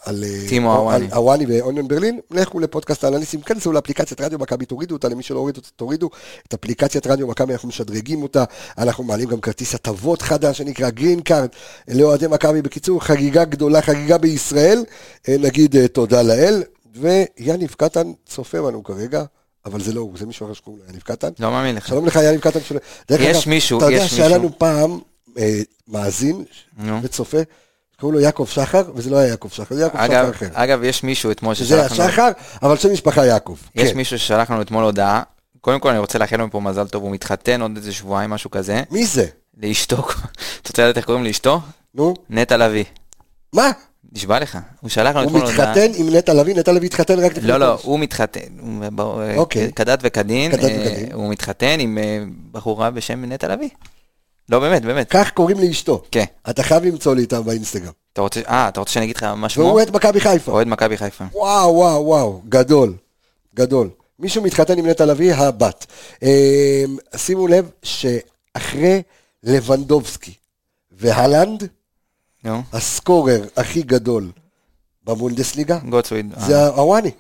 [SPEAKER 1] על אה,
[SPEAKER 2] טימו הוואני.
[SPEAKER 1] על הוואני ואוניון ברלין, לכו לפודקאסט האנליסטים, כנסו לאפליקציית רדיו מכבי, תורידו אותה, למי שלא הוריד אותה, תורידו את אפליקציית רדיו מכבי, אנחנו משדרגים אותה, אנחנו מעלים גם כרטיס הטבות חדש שנקרא גרין קארד לאוהדי מכבי, בקיצור, חגיגה גדולה, חגיגה בישראל, אה, נגיד אה, תודה לאל, ויניב קטן צופה בנו כרגע, אבל זה לא הוא, זה מישהו אחר שקוראים לו יניב קטן.
[SPEAKER 2] לא מאמין לך.
[SPEAKER 1] שלום לך, יניב קטן. של- דרך
[SPEAKER 2] יש
[SPEAKER 1] אגב,
[SPEAKER 2] מישהו,
[SPEAKER 1] אתה יודע
[SPEAKER 2] יש
[SPEAKER 1] שהיה
[SPEAKER 2] מישהו.
[SPEAKER 1] לנו פעם אה, מאזין
[SPEAKER 2] נו.
[SPEAKER 1] וצופה, קראו לו יעקב שחר, וזה לא היה יעקב שחר, זה יעקב שחר
[SPEAKER 2] אגב,
[SPEAKER 1] אחר.
[SPEAKER 2] אגב, יש מישהו אתמול
[SPEAKER 1] שזה היה
[SPEAKER 2] ששלחנו,
[SPEAKER 1] שחר, אבל שם משפחה יעקב.
[SPEAKER 2] יש
[SPEAKER 1] כן.
[SPEAKER 2] מישהו ששלח לנו אתמול הודעה, קודם כל אני רוצה לאחל לו מפה מזל טוב, הוא מתחתן עוד איזה שבועיים, משהו כזה,
[SPEAKER 1] מי זה?
[SPEAKER 2] לאשתו, אתה רוצה לדעת איך קוראים לאשתו?
[SPEAKER 1] נו,
[SPEAKER 2] נטע לביא.
[SPEAKER 1] מה?
[SPEAKER 2] נשבע לך, הוא שלח לנו
[SPEAKER 1] הוא
[SPEAKER 2] אתמול הודעה.
[SPEAKER 1] מתחתן עם נטע לביא, נטע לביא התחתן רק לפני
[SPEAKER 2] לא, לא,
[SPEAKER 1] חודש.
[SPEAKER 2] הוא מתחתן, הוא ב-
[SPEAKER 1] אוקיי.
[SPEAKER 2] כדת וכדין,
[SPEAKER 1] כדת
[SPEAKER 2] אה,
[SPEAKER 1] וכדין.
[SPEAKER 2] הוא מתחתן עם אה, בחורה בשם נטע לביא. לא, באמת, באמת.
[SPEAKER 1] כך קוראים לאשתו.
[SPEAKER 2] כן.
[SPEAKER 1] אתה חייב למצוא לי איתם באינסטגרם.
[SPEAKER 2] אתה רוצה, אה, אתה רוצה שאני אגיד לך מה שמו?
[SPEAKER 1] והוא אוהד מכבי חיפה.
[SPEAKER 2] אוהד מכבי חיפה.
[SPEAKER 1] וואו, וואו, וואו, גדול, גדול. מישהו מתחתן עם נטע לביא, הבת. אמ, שימו לב שאחרי לבנדובסקי והלנד,
[SPEAKER 2] נו,
[SPEAKER 1] הסקורר הכי גדול בבונדסליגה,
[SPEAKER 2] גוטסוויד.
[SPEAKER 1] זה הוואני.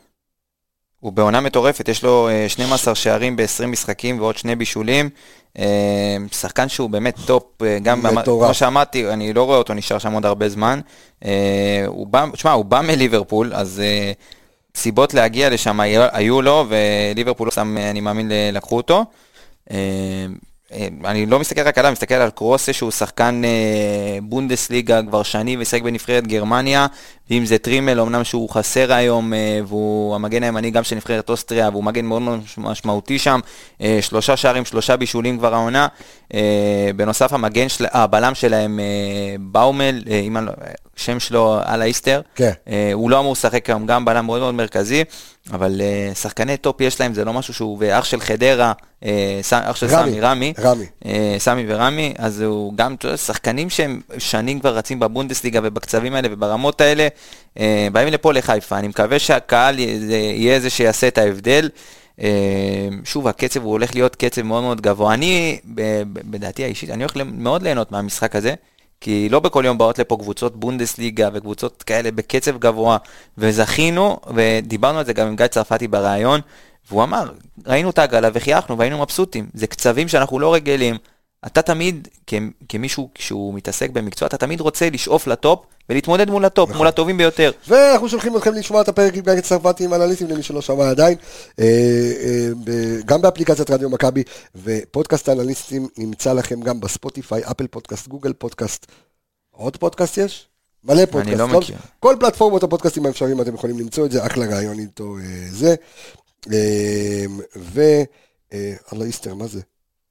[SPEAKER 2] הוא בעונה מטורפת, יש לו אה, 12 שערים ב-20 משחקים ועוד שני בישולים. אה, שחקן שהוא באמת טופ, אה, גם אמר-
[SPEAKER 1] מטורף.
[SPEAKER 2] כמו שאמרתי, אני לא רואה אותו נשאר שם עוד הרבה זמן. אה, הוא בא, תשמע, הוא בא מליברפול, אז אה, סיבות להגיע לשם היה- היו לו, וליברפול שם, אה, אני מאמין, ל- לקחו אותו. אה, אה, אני לא מסתכל רק עליו, מסתכל על קרוסה שהוא שחקן אה, בונדסליגה כבר שנים ושיחק בנבחרת גרמניה, ואם זה טרימל, אמנם שהוא חסר היום, אה, והוא המגן הימני גם של נבחרת אוסטריה, והוא מגן מאוד מאוד מש- משמעותי שם, אה, שלושה שערים, שלושה בישולים כבר העונה. אה, בנוסף המגן, של, אה, הבלם שלהם, אה, באומל, אה, אם אני לא- שם שלו על האיסטר.
[SPEAKER 1] כן.
[SPEAKER 2] אה, הוא לא אמור לשחק היום, גם בלם מאוד מאוד מרכזי, אבל אה, שחקני טופ יש להם, זה לא משהו שהוא, ואח של חדרה, אה, ס- אח של
[SPEAKER 1] רמי,
[SPEAKER 2] סמי, רמי,
[SPEAKER 1] רמי.
[SPEAKER 2] אה, סמי ורמי, אז הוא גם אתה יודע, שחקנים שהם שנים כבר רצים בבונדסליגה ובקצבים האלה וברמות האלה, אה, באים לפה לחיפה, אני מקווה שהקהל י- זה- יהיה זה שיעשה את ההבדל. אה, שוב, הקצב הוא הולך להיות קצב מאוד מאוד גבוה. אני, ב- ב- בדעתי האישית, אני הולך ל- מאוד ליהנות מהמשחק הזה. כי לא בכל יום באות לפה קבוצות בונדסליגה וקבוצות כאלה בקצב גבוה, וזכינו, ודיברנו על זה גם עם גיא צרפתי בריאיון, והוא אמר, ראינו את העגלה וחייכנו והיינו מבסוטים, זה קצבים שאנחנו לא רגילים. אתה תמיד, כ- כמישהו שהוא מתעסק במקצוע, אתה תמיד רוצה לשאוף לטופ ולהתמודד מול הטופ, מול הטובים ביותר.
[SPEAKER 1] ואנחנו שולחים אתכם לשמוע את הפרק עם גיא צרפתי עם אנליסטים למי שלא שמע עדיין, אה, אה, ב- גם באפליקציית רדיו מכבי, ופודקאסט האנליסטים נמצא לכם גם בספוטיפיי, אפל פודקאסט, גוגל פודקאסט. עוד פודקאסט יש? מלא פודקאסט.
[SPEAKER 2] לא מכיר.
[SPEAKER 1] כל פלטפורמות הפודקאסטים האפשריים אתם יכולים למצוא את זה, אחלה רעיון איתו אה, זה. אה, ו... אה, אללה איסטר, מה זה?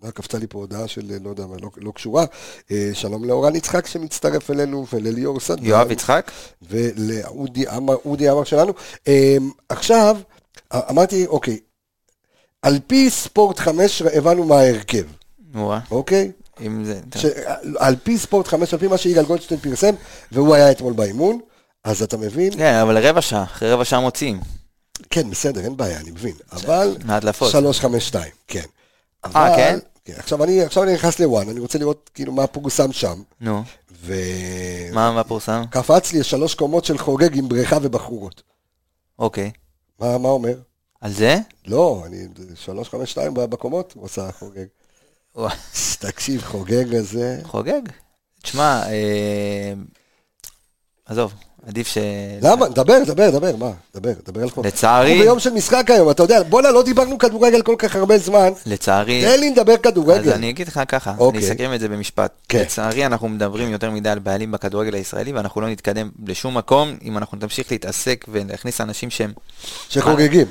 [SPEAKER 1] אה, קפצה לי פה הודעה של, אה, לא יודע מה, לא, לא קשורה. אה, שלום לאורן יצחק שמצטרף אלינו ולליאור סנדמן.
[SPEAKER 2] יואב יצחק?
[SPEAKER 1] ולאודי עמר, אודי עמר שלנו. אמ, עכשיו, א- אמרתי, אוקיי, על פי ספורט 5 הבנו מה ההרכב,
[SPEAKER 2] נו, אה,
[SPEAKER 1] אוקיי?
[SPEAKER 2] אם זה...
[SPEAKER 1] ש, על פי ספורט 5, על פי מה שיגאל גולדשטיין פרסם, והוא היה אתמול באימון, אז אתה מבין?
[SPEAKER 2] כן, אבל רבע שעה, אחרי רבע שעה מוציאים,
[SPEAKER 1] כן, בסדר, אין בעיה, אני מבין. אבל,
[SPEAKER 2] מהדלפות.
[SPEAKER 1] 352, כן. אבל-
[SPEAKER 2] כן?
[SPEAKER 1] כן? עכשיו אני, עכשיו אני נכנס לוואן, אני רוצה לראות כאילו מה פורסם שם,
[SPEAKER 2] נו,
[SPEAKER 1] ו...
[SPEAKER 2] מה מה פורסם?
[SPEAKER 1] קפץ לי שלוש קומות של חוגג עם בריכה ובחורות.
[SPEAKER 2] אוקיי.
[SPEAKER 1] מה, מה אומר?
[SPEAKER 2] על זה?
[SPEAKER 1] לא, אני שלוש, חמש, שתיים בקומות עושה חוגג.
[SPEAKER 2] וואי.
[SPEAKER 1] תקשיב, חוגג הזה...
[SPEAKER 2] חוגג. תשמע, אה, עזוב, עדיף ש...
[SPEAKER 1] למה? דבר, דבר, דבר, מה? דבר, דבר על חוגג.
[SPEAKER 2] לצערי-
[SPEAKER 1] לא, אנחנו ביום של משחק היום, אתה יודע, בואנה, לא דיברנו כדורגל כל כך הרבה זמן,
[SPEAKER 2] לצערי...
[SPEAKER 1] תן לי לדבר
[SPEAKER 2] אה, אז
[SPEAKER 1] כדורגל.
[SPEAKER 2] אני אגיד לך ככה, אני
[SPEAKER 1] אוקיי.
[SPEAKER 2] אסכם את זה במשפט.
[SPEAKER 1] כן.
[SPEAKER 2] לצערי אנחנו מדברים יותר מדי על בעלים בכדורגל הישראלי ואנחנו לא נתקדם לשום מקום אם אנחנו נמשיך להתעסק ולהכניס אנשים שהם...
[SPEAKER 1] שחוגגים.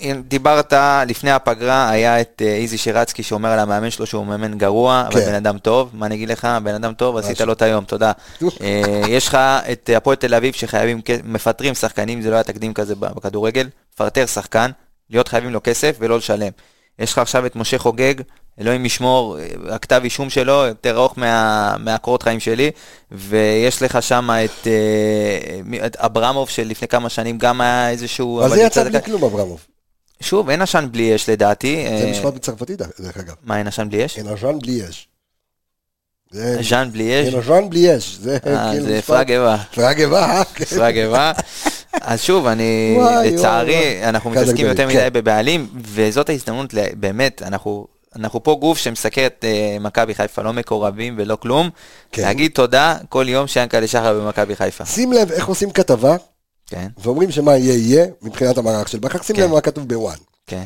[SPEAKER 2] אם דיברת לפני הפגרה, היה את אה, איזי שירצקי שאומר על המאמן שלו שהוא מאמן גרוע, אבל
[SPEAKER 1] כן.
[SPEAKER 2] בן אדם טוב, מה אני אגיד לך? בן אדם טוב, עשית לו את היום, תודה. אה, יש לך את הפועל תל אביב שחייבים, כ- מפטרים שחקנים, זה לא היה תקדים כזה ב- בכדורגל, לפטר שחקן, להיות חייבים לו כסף ולא לשלם. יש לך עכשיו את משה חוגג, אלוהים ישמור, אה, הכתב אישום שלו יותר ארוך מה- מהקורות חיים שלי, ויש לך שם את, אה, מי- את אברמוב שלפני כמה שנים גם היה איזשהו...
[SPEAKER 1] אבל
[SPEAKER 2] אבל
[SPEAKER 1] זה יצא
[SPEAKER 2] יצא
[SPEAKER 1] בלי
[SPEAKER 2] דקה-
[SPEAKER 1] כלום, אברמוב.
[SPEAKER 2] שוב, אין עשן בלי אש לדעתי.
[SPEAKER 1] זה
[SPEAKER 2] אה,
[SPEAKER 1] משפט כן, בצרפתית, דרך אגב.
[SPEAKER 2] מה, אין עשן בלי אש?
[SPEAKER 1] אין עשן בלי אש. זה-
[SPEAKER 2] ז'אן בלי אש?
[SPEAKER 1] אין עשן בלי אש. זה
[SPEAKER 2] אה,
[SPEAKER 1] כאילו
[SPEAKER 2] זה
[SPEAKER 1] כן. משפט- אה, כן.
[SPEAKER 2] פרגבה.
[SPEAKER 1] פרגבה.
[SPEAKER 2] פרגבה. אז שוב, אני,
[SPEAKER 1] וואי, וואי, כן.
[SPEAKER 2] לצערי,
[SPEAKER 1] וואי.
[SPEAKER 2] אנחנו
[SPEAKER 1] אחד
[SPEAKER 2] מתעסקים יותר
[SPEAKER 1] הגדולים,
[SPEAKER 2] מדי בבעלים, וזאת ההזדמנות, ל- באמת, אנחנו... אנחנו פה גוף שמסקר את אה, מכבי חיפה, לא מקורבים ולא כלום.
[SPEAKER 1] כן.
[SPEAKER 2] להגיד תודה כל יום שיענקל'ה שחר במכבי חיפה.
[SPEAKER 1] שים לב איך עושים כתבה,
[SPEAKER 2] כן,
[SPEAKER 1] ואומרים שמה יהיה יהיה מבחינת המערך של בכר. שים
[SPEAKER 2] כן.
[SPEAKER 1] לב מה כתוב בוואן.
[SPEAKER 2] כן.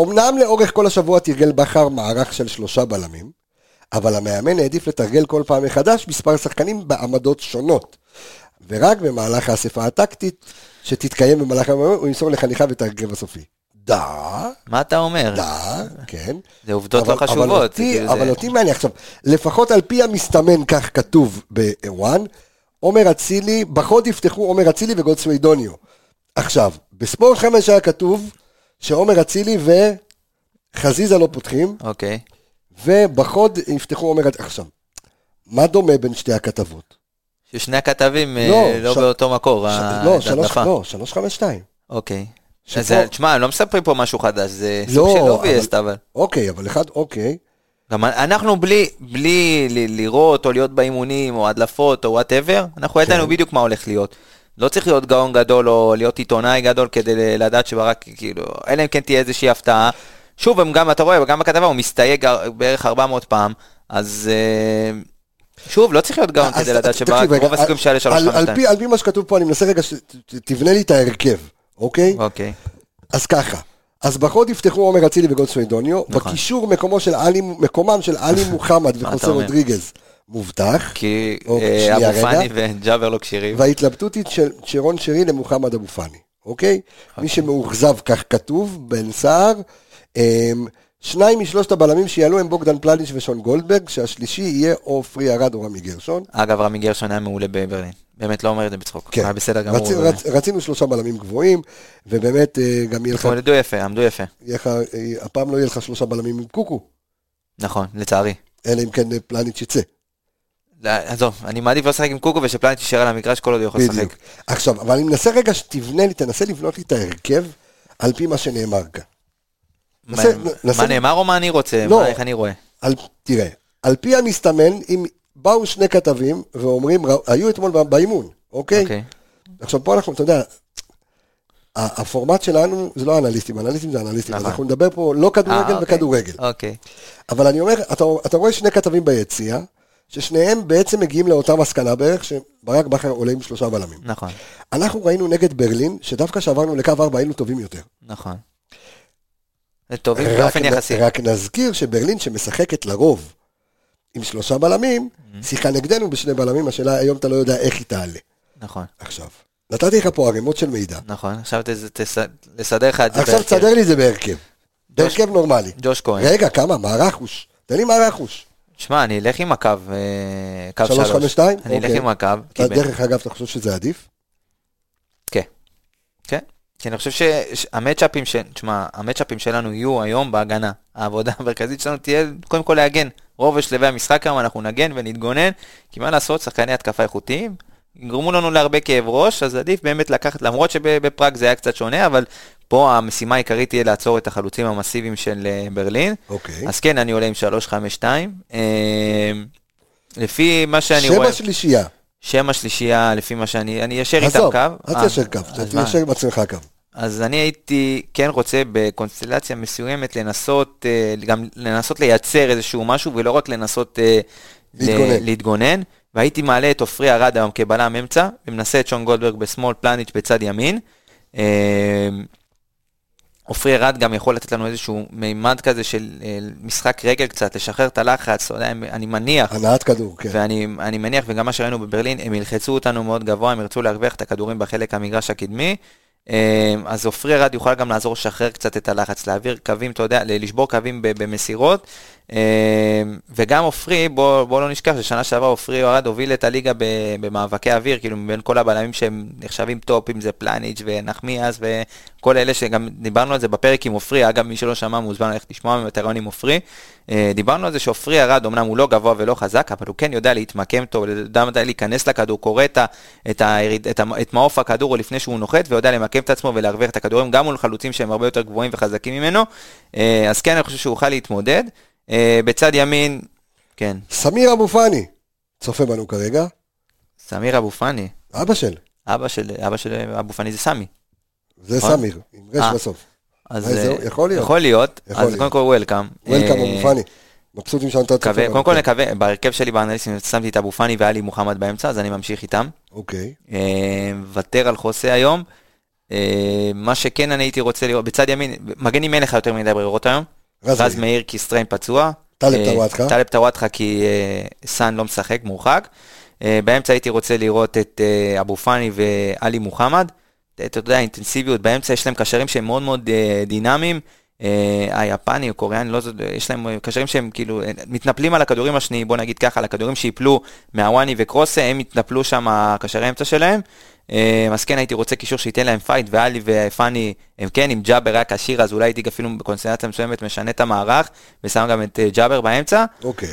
[SPEAKER 1] אמנם לאורך כל השבוע תרגל בכר מערך של שלושה בלמים, אבל המאמן העדיף לתרגל כל פעם מחדש מספר שחקנים בעמדות שונות. ורק במהלך האספה הטקטית שתתקיים במהלך היום הוא ימסור לחניכיו את ההרכב הסופי. דה,
[SPEAKER 2] מה אתה אומר?
[SPEAKER 1] דה, כן.
[SPEAKER 2] זה עובדות
[SPEAKER 1] אבל-
[SPEAKER 2] לא חשובות.
[SPEAKER 1] אבל אותי,
[SPEAKER 2] כאילו, זה-
[SPEAKER 1] אבל אותי מעניין. עכשיו, לפחות על פי המסתמן כך כתוב בוואן, עומר אצילי, בחוד יפתחו עומר אצילי וגולדסווי דוניו. עכשיו, בספורט 5 היה כתוב שעומר אצילי וחזיזה לא פותחים,
[SPEAKER 2] אוקיי.
[SPEAKER 1] ובחוד יפתחו עומר אצילי. עכשיו, מה דומה בין שתי הכתבות?
[SPEAKER 2] ששני הכתבים אה,
[SPEAKER 1] לא,
[SPEAKER 2] לא
[SPEAKER 1] ש-
[SPEAKER 2] באותו מקור,
[SPEAKER 1] ש- לא, שלוש-
[SPEAKER 2] ההדלפה.
[SPEAKER 1] לא, 352.
[SPEAKER 2] אוקיי.
[SPEAKER 1] שפה-
[SPEAKER 2] אז, תשמע, הם לא מספרים פה משהו חדש, זה
[SPEAKER 1] לא,
[SPEAKER 2] סוג של
[SPEAKER 1] אבל-
[SPEAKER 2] אובייסט, אבל...
[SPEAKER 1] אוקיי, אבל אחד, אוקיי.
[SPEAKER 2] גם אנחנו בלי, בלי ל- לראות או להיות באימונים או הדלפות או וואטאבר,
[SPEAKER 1] כן.
[SPEAKER 2] אנחנו ידענו בדיוק מה הולך להיות. לא צריך להיות גאון גדול או להיות עיתונאי גדול כדי ל- לדעת שברק, כאילו, אלא אם כן תהיה איזושהי הפתעה. שוב, הם גם, אתה רואה, גם בכתבה הוא מסתייג הר- בערך 400 פעם, אז אה, שוב, לא צריך להיות גאון
[SPEAKER 1] אה, אז
[SPEAKER 2] כדי לדעת
[SPEAKER 1] תקשיב
[SPEAKER 2] שברק,
[SPEAKER 1] רגע,
[SPEAKER 2] רוב הסיכויים
[SPEAKER 1] על-
[SPEAKER 2] שהיה לשלוש
[SPEAKER 1] על- על
[SPEAKER 2] חמש
[SPEAKER 1] פי- על פי מה שכתוב פה, אני מנסה רגע, ש- ת- תבנה לי את ההרכב, אוקיי?
[SPEAKER 2] אוקיי,
[SPEAKER 1] אז ככה. אז בחוד יפתחו עומר אצילי וגולדסווי דוניו,
[SPEAKER 2] נכון.
[SPEAKER 1] בקישור מקומו של עלי, מקומם של עלי מוחמד
[SPEAKER 2] אתה
[SPEAKER 1] וחוסה
[SPEAKER 2] אומר?
[SPEAKER 1] רודריגז מובטח,
[SPEAKER 2] כי
[SPEAKER 1] אוקיי,
[SPEAKER 2] אה,
[SPEAKER 1] שנייה,
[SPEAKER 2] אבו
[SPEAKER 1] רגע.
[SPEAKER 2] פאני וג'אבר לא כשירים.
[SPEAKER 1] וההתלבטות היא של שרון שרי למוחמד אבו פאני, אוקיי? מי שמאוכזב, כך כתוב, בן סער. אמ, שניים משלושת הבלמים שיעלו הם בוגדן פלניץ' ושון גולדברג, שהשלישי יהיה או פרי ארד או רמי גרשון.
[SPEAKER 2] אגב, רמי גרשון היה מעולה בברלין. באמת לא אומר את זה בצחוק.
[SPEAKER 1] כן.
[SPEAKER 2] היה בסדר גמור.
[SPEAKER 1] רצ-
[SPEAKER 2] באמת.
[SPEAKER 1] רצ- רצינו שלושה בלמים גבוהים, ובאמת אה, גם יהיה לך,
[SPEAKER 2] התמודדו יפה, עמדו יפה.
[SPEAKER 1] יהיה לך, אה, הפעם לא יהיה לך שלושה בלמים עם קוקו,
[SPEAKER 2] נכון, לצערי.
[SPEAKER 1] אלא אם כן אה, פלניץ' יצא.
[SPEAKER 2] לא, עזוב, אני מעדיף לא לשחק עם קוקו ושפלניץ' יישאר על המגרש כל עוד הוא יכול
[SPEAKER 1] בדיוק.
[SPEAKER 2] לשחק.
[SPEAKER 1] עכשיו, אבל אני מנסה רגע שתבנה לי, תנסה לבנות לי את ההרכב על פי מה שנאמר כאן.
[SPEAKER 2] מה-
[SPEAKER 1] נסה- נסה-
[SPEAKER 2] מה נאמר או מה אני רוצה?
[SPEAKER 1] לא.
[SPEAKER 2] מה- איך אני רואה?
[SPEAKER 1] על, תראה, על פי המסתמן, אם באו שני כתבים ואומרים, "ר- היו אתמול בא- באימון, אוקיי?
[SPEAKER 2] אוקיי.
[SPEAKER 1] עכשיו פה אנחנו, אתה יודע, ה- הפורמט שלנו זה לא אנליסטים, אנליסטים זה אנליסטים, אז
[SPEAKER 2] נכון.
[SPEAKER 1] אנחנו נדבר פה לא
[SPEAKER 2] אה,
[SPEAKER 1] כדורגל
[SPEAKER 2] אוקיי.
[SPEAKER 1] וכדורגל.
[SPEAKER 2] אוקיי.
[SPEAKER 1] אבל אני אומר, אתה, אתה רואה שני כתבים ביציע, ששניהם בעצם מגיעים לאותה מסקנה בערך, שברק בכר עולה עם שלושה בלמים.
[SPEAKER 2] נכון,
[SPEAKER 1] אנחנו ראינו נגד ברלין, שדווקא כשעברנו לקו ארבע היינו טובים יותר.
[SPEAKER 2] נכון. זה טובים
[SPEAKER 1] רק
[SPEAKER 2] באופן
[SPEAKER 1] נ-
[SPEAKER 2] יחסי.
[SPEAKER 1] רק נזכיר שברלין שמשחקת לרוב עם שלושה בלמים,
[SPEAKER 2] Mm-hmm.
[SPEAKER 1] שיחקה נגדנו בשני בלמים, השאלה היום אתה לא יודע איך היא תעלה.
[SPEAKER 2] נכון,
[SPEAKER 1] עכשיו, נתתי לך פה ערימות של מידע.
[SPEAKER 2] נכון. עכשיו ת- תס- לסדר לך את זה.
[SPEAKER 1] עכשיו
[SPEAKER 2] בהרכב.
[SPEAKER 1] תסדר לי את זה בהרכב.
[SPEAKER 2] ג'וש-
[SPEAKER 1] בהרכב נורמלי.
[SPEAKER 2] ג'וש כהן.
[SPEAKER 1] רגע, כמה? מה רכוש? תן לי מה רכוש.
[SPEAKER 2] שמע, אני אלך עם הקו, אה, קו
[SPEAKER 1] שלוש,
[SPEAKER 2] שלוש.
[SPEAKER 1] חמש, שתיים?
[SPEAKER 2] אני אלך
[SPEAKER 1] אוקיי.
[SPEAKER 2] עם הקו. כי
[SPEAKER 1] אתה,
[SPEAKER 2] ב-
[SPEAKER 1] דרך אגב, אתה חושב שזה עדיף?
[SPEAKER 2] כן. כן. כי אני חושב שהמצ'אפים ש... תשמע, המצ'אפים שלנו יהיו היום בהגנה. העבודה המרכזית שלנו תהיה קודם כל להגן. רוב שלבי המשחק היום אנחנו נגן ונתגונן, כי מה לעשות, שחקני התקפה איכותיים. יגרמו לנו להרבה כאב ראש, אז עדיף באמת לקחת, למרות שבפראג זה היה קצת שונה, אבל פה המשימה העיקרית תהיה לעצור את החלוצים המסיביים של אה, ברלין.
[SPEAKER 1] אוקיי.
[SPEAKER 2] אז כן, אני עולה עם 3-5-2. אה, לפי מה שאני
[SPEAKER 1] שם
[SPEAKER 2] רואה,
[SPEAKER 1] השלישייה.
[SPEAKER 2] שם השלישייה, לפי מה שאני, אני ישר איתם
[SPEAKER 1] עזוב,
[SPEAKER 2] קו.
[SPEAKER 1] אל
[SPEAKER 2] אה,
[SPEAKER 1] תיישר קו,
[SPEAKER 2] אז מה?
[SPEAKER 1] תיישר עם עצמך קו.
[SPEAKER 2] אז אני הייתי כן רוצה בקונסטלציה מסוימת לנסות, אה, גם לנסות לייצר איזשהו משהו ולא רק לנסות אה, ל-
[SPEAKER 1] להתגונן.
[SPEAKER 2] להתגונן. והייתי מעלה את עופרי ארד היום כבלם אמצע, ומנסה את שון גולדברג בשמאל, פלניץ' בצד ימין. אה, עופרי ארד גם יכול לתת לנו איזשהו מימד כזה של אה, משחק רגל קצת, לשחרר את הלחץ, לא יודע, אני מניח.
[SPEAKER 1] הנעת כדור, כן.
[SPEAKER 2] ואני אני מניח, וגם מה שראינו בברלין, הם ילחצו אותנו מאוד גבוה, הם ירצו להרוויח את הכדורים בחלק המגרש הקדמי. אה, אז עופרי ארד יוכל גם לעזור לשחרר קצת את הלחץ, להעביר קווים, אתה יודע, ל- לשבור קווים ב- במסירות. אה, וגם עופרי, בוא, בוא לא נשכח ששנה שעברה עופרי ארד הוביל את הליגה ב- במאבקי אוויר, כאילו מבין כל הבלמים שהם נחשבים טופ, אם זה פלניץ' ונחמיאס וכל אלה שגם דיברנו על זה בפרק עם עופרי, אגב מי שלא שמע מוזמן ללכת לשמוע את הרעיון עם עופרי. אה, דיברנו על זה שעופרי ארד, אמנם הוא לא גבוה ולא חזק, אבל הוא כן יודע להתמקם טוב, יודע מתי להיכנס לכדור, קורא את, ה, את, היריד, את, ה, את מעוף הכדור עוד לפני שהוא נוחת, ויודע למקם את עצמו ולהרוויח את הכדורים, גם מול חלוצים שהם הרבה יותר גבוהים וחזקים ממנו. אה, אז כן, אני חושב שהוא יוכל להתמודד. אה, בצד ימין, כן,
[SPEAKER 1] סמיר אבו פאני, צופה בנו כרגע,
[SPEAKER 2] סמיר אבו פאני,
[SPEAKER 1] אבא של,
[SPEAKER 2] אבא של, אבא של אבו פאני זה סמי.
[SPEAKER 1] זה
[SPEAKER 2] נכון.
[SPEAKER 1] סמיר, עם רש
[SPEAKER 2] אה.
[SPEAKER 1] בסוף.
[SPEAKER 2] אז
[SPEAKER 1] אה, זהו,
[SPEAKER 2] אה,
[SPEAKER 1] יכול להיות.
[SPEAKER 2] יכול להיות,
[SPEAKER 1] יכול
[SPEAKER 2] אז קודם
[SPEAKER 1] להיות.
[SPEAKER 2] כל וולקאם.
[SPEAKER 1] וולקאם אבו פאני, כן. מבסוטים שאתה צופה
[SPEAKER 2] מקווה,
[SPEAKER 1] בנו.
[SPEAKER 2] אה, קודם כל נקווה, בהרכב שלי באנליסטים שמתי את אבו פאני ועלי מוחמד באמצע, אז אני ממשיך איתם.
[SPEAKER 1] אוקיי.
[SPEAKER 2] אה, מוותר על חוסה היום. אה, מה שכן אני הייתי רוצה לראות, בצד ימין, מגן ימין אין לך יותר מדי ברירות היום.
[SPEAKER 1] רז
[SPEAKER 2] רז
[SPEAKER 1] מאיר.
[SPEAKER 2] מאיר כי סטריין פצוע.
[SPEAKER 1] טלב
[SPEAKER 2] אה,
[SPEAKER 1] טוואטחה.
[SPEAKER 2] טלב טוואטחה כי אה, סאן לא משחק, מורחק. אה, באמצע הייתי רוצה לראות את אה, אבו פאני ועלי מוחמד. אתה יודע, אינטנסיביות באמצע, יש להם קשרים שהם מאוד מאוד אה, דינמיים. אה, היפני או קוריאני, לא, זו- יש להם קשרים שהם כאילו אה, מתנפלים על הכדורים השניים, בוא נגיד ככה, על הכדורים שיפלו מהוואני וקרוסה, הם התנפלו שם, הקשרי האמצע שלהם. אה, אז כן הייתי רוצה קישור שייתן להם פייט, ואלי ופאני, הם כן, אם ג'אבר היה כשיר, אז אולי הייתי אפילו בקונסטנציה מסוימת משנה את המערך, ושם גם את אה, ג'אבר באמצע.
[SPEAKER 1] אוקיי.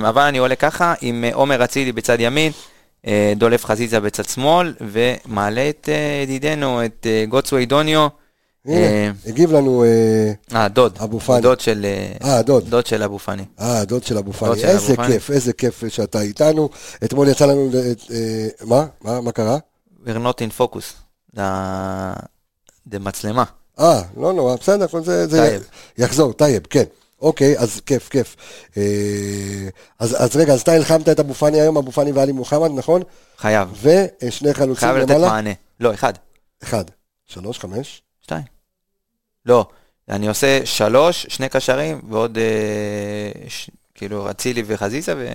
[SPEAKER 2] אה, אבל אני עולה ככה, עם אה, עומר אצילי בצד ימין, אה, דולף חזיזה בצד שמאל, ומעלה את אה, ידידנו, את אה, גוטסווי דוניו.
[SPEAKER 1] הנה, הגיב לנו, אה,
[SPEAKER 2] אה, דוד.
[SPEAKER 1] אבו פאני.
[SPEAKER 2] דוד של... אה,
[SPEAKER 1] אה, הדוד.
[SPEAKER 2] דוד של אבו פאני.
[SPEAKER 1] אה, הדוד של אבו
[SPEAKER 2] הדוד
[SPEAKER 1] פאני.
[SPEAKER 2] של
[SPEAKER 1] איזה
[SPEAKER 2] אבו פאני.
[SPEAKER 1] כיף, איזה כיף שאתה איתנו. אתמול יצא לנו, ל- את, אה, מה? מה? מה קרה?
[SPEAKER 2] We're not in focus. זה- זה מצלמה.
[SPEAKER 1] אה, לא נורא, בסדר, כל זה, זה
[SPEAKER 2] טייב.
[SPEAKER 1] יחזור, טייב, כן. אוקיי, אז כיף, כיף. אה, אז, אז רגע, אז אתה הלחמת את אבו פאני היום, אבו פאני ואלי מוחמד, נכון?
[SPEAKER 2] חייב.
[SPEAKER 1] ושני חלוצים
[SPEAKER 2] חייב לתת
[SPEAKER 1] למעלה.
[SPEAKER 2] מענה. לא, אחד.
[SPEAKER 1] אחד, שלוש, חמש.
[SPEAKER 2] שתיים. לא, אני עושה שלוש, שני קשרים, ועוד אה, ש... כאילו אצילי וחזיזה, ו...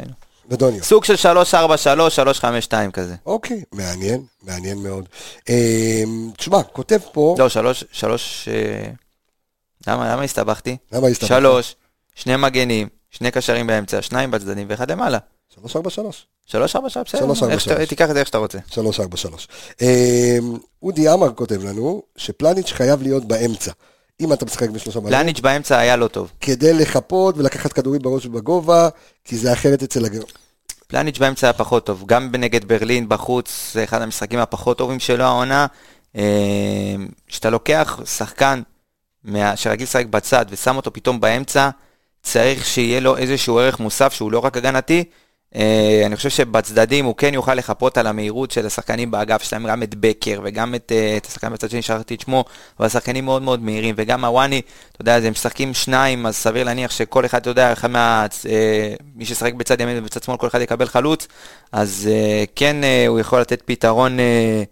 [SPEAKER 1] ודוניו.
[SPEAKER 2] סוג של שלוש, ארבע, שלוש, שלוש, חמש, שתיים כזה.
[SPEAKER 1] אוקיי, מעניין, מעניין מאוד. אה, תשמע, כותב פה,
[SPEAKER 2] לא, שלוש, שלוש... אה, למה, למה הסתבכתי?
[SPEAKER 1] למה הסתבכת?
[SPEAKER 2] שלוש, שני מגנים, שני קשרים באמצע, שניים בצדדים ואחד למעלה.
[SPEAKER 1] שלוש, ארבע, שלוש.
[SPEAKER 2] שלוש, ארבע, שלוש,
[SPEAKER 1] שלוש,
[SPEAKER 2] בסדר.
[SPEAKER 1] ארבע,
[SPEAKER 2] איך שאתה-
[SPEAKER 1] שלוש.
[SPEAKER 2] תיקח את זה איך שאתה רוצה.
[SPEAKER 1] 343. אה, אודי עמר כותב לנו שפלניץ' חייב להיות באמצע. אם אתה משחק בשלושה מלא,
[SPEAKER 2] פלניץ' באמצע היה לא טוב.
[SPEAKER 1] כדי לחפות ולקחת כדורים בראש ובגובה, כי זה אחרת אצל הגר...
[SPEAKER 2] פלניץ' באמצע היה פחות טוב, גם נגד ברלין בחוץ, זה אחד המשחקים הפחות טובים שלו העונה. אה, כשאתה לוקח שחקן מה- שרגיל לשחק בצד ושם אותו פתאום באמצע, צריך שיהיה לו איזשהו ערך מוסף שהוא לא רק הגנתי. אה, אני חושב שבצדדים הוא כן יוכל לחפות על המהירות של השחקנים באגף, יש להם גם את בקר וגם את, אה, את השחקן בצד שני, שכחתי את שמו, אבל השחקנים מאוד מאוד מהירים, וגם הוואני, אתה יודע, אז הם משחקים שניים, אז סביר להניח שכל אחד, אתה יודע, אחד מה... אה, מי ששחק בצד ימין ובצד שמאל, כל אחד יקבל חלוץ, אז אה, כן, אה, הוא יכול לתת פתרון, אה,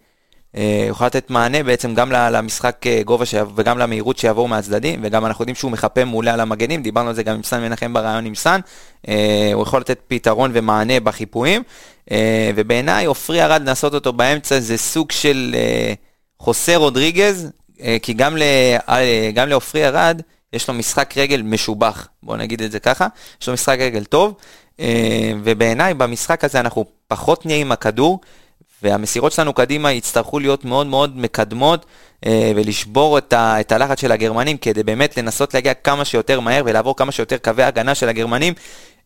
[SPEAKER 2] אה, הוא יכול לתת מענה בעצם גם ל- למשחק אה, גובה שיע- וגם למהירות שיעבור מהצדדים, וגם אנחנו יודעים שהוא מחפה מעולה על המגנים, דיברנו על זה גם עם סן מנחם בריאיון עם סן, אה, הוא יכול לתת פתרון ומענה בחיפויים, אה, ובעיניי עופרי ארד לעשות אותו באמצע זה סוג של אה, חוסה רודריגז, אה, כי גם, ל, אה, גם לעופרי ארד יש לו משחק רגל משובח, בואו נגיד את זה ככה, יש לו משחק רגל טוב, אה, ובעיניי במשחק הזה אנחנו פחות נהיה עם הכדור, והמסירות שלנו קדימה יצטרכו להיות מאוד מאוד מקדמות אה, ולשבור את, ה, את הלחץ של הגרמנים כדי באמת לנסות להגיע כמה שיותר מהר ולעבור כמה שיותר קווי הגנה של הגרמנים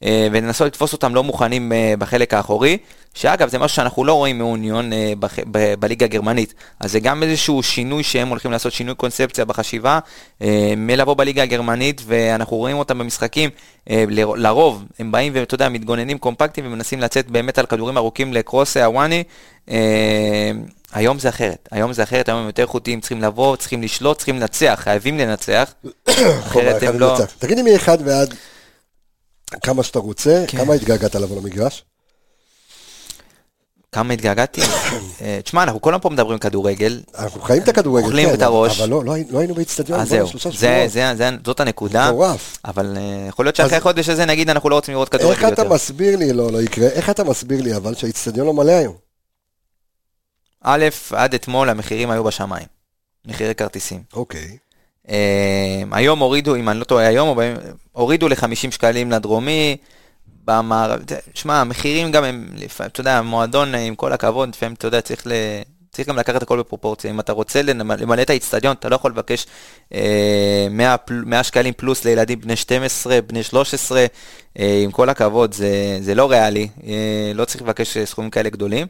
[SPEAKER 2] אה, ולנסות לתפוס אותם לא מוכנים אה, בחלק האחורי, שאגב זה משהו שאנחנו לא רואים מאוניון אה, בח, ב, בליגה הגרמנית, אז זה גם איזשהו שינוי שהם הולכים לעשות, שינוי קונספציה בחשיבה אה, מלבוא בליגה הגרמנית ואנחנו רואים אותם במשחקים, אה, ל- לרוב הם באים ואתה יודע מתגוננים קומפקטים ומנסים לצאת באמת על כדורים ארוכים לקרוס הוואני. אה, היום זה אחרת, היום זה אחרת, היום הם יותר איכותיים, צריכים לבוא, צריכים לשלוט, צריכים לנצח, חייבים לנצח. אחרת
[SPEAKER 1] חובה,
[SPEAKER 2] הם
[SPEAKER 1] אחד
[SPEAKER 2] לא...
[SPEAKER 1] לנצח. תגיד לי מאחד ועד כמה שאתה רוצה,
[SPEAKER 2] כן.
[SPEAKER 1] כמה התגעגעת לבוא למגרש?
[SPEAKER 2] כמה התגעגעתי. אה, תשמע, אנחנו כל היום פה מדברים כדורגל,
[SPEAKER 1] אנחנו חיים את הכדורגל,
[SPEAKER 2] אוכלים
[SPEAKER 1] כן,
[SPEAKER 2] את הראש.
[SPEAKER 1] אבל לא, לא היינו- לא היינו באיצטדיון,
[SPEAKER 2] אז
[SPEAKER 1] בואנה,
[SPEAKER 2] זהו,
[SPEAKER 1] שלושה
[SPEAKER 2] זה-
[SPEAKER 1] שבועות.
[SPEAKER 2] זה- זה- זאת הנקודה.
[SPEAKER 1] מטורף.
[SPEAKER 2] אבל אה, יכול להיות שאחרי
[SPEAKER 1] אז-
[SPEAKER 2] חודש הזה נגיד אנחנו לא רוצים לראות
[SPEAKER 1] איך
[SPEAKER 2] כדורגל
[SPEAKER 1] אתה
[SPEAKER 2] יותר.
[SPEAKER 1] מסביר לי, לא, לא יקרה, איך אתה מסביר לי אבל שהאיצטדיון לא מלא היום?
[SPEAKER 2] א', עד אתמול המחירים היו בשמיים. מחירי כרטיסים.
[SPEAKER 1] אוקיי.
[SPEAKER 2] אה, היום הורידו, אם אני לא טועה היום, או ב- הורידו ל-50 שקלים לדרומי. במערב, זה- שמע, המחירים גם הם, לפעמים, אתה יודע, המועדון, עם כל הכבוד, לפעמים, אתה יודע, צריך, ל... צריך גם לקחת הכל בפרופורציה. אם אתה רוצה למלא, למלא את האיצטדיון, אתה לא יכול לבקש אה, 100, פל- 100 שקלים פלוס לילדים בני 12, בני 13, אה, עם כל הכבוד, זה, זה לא ריאלי, אה, לא צריך לבקש אה, סכומים כאלה גדולים.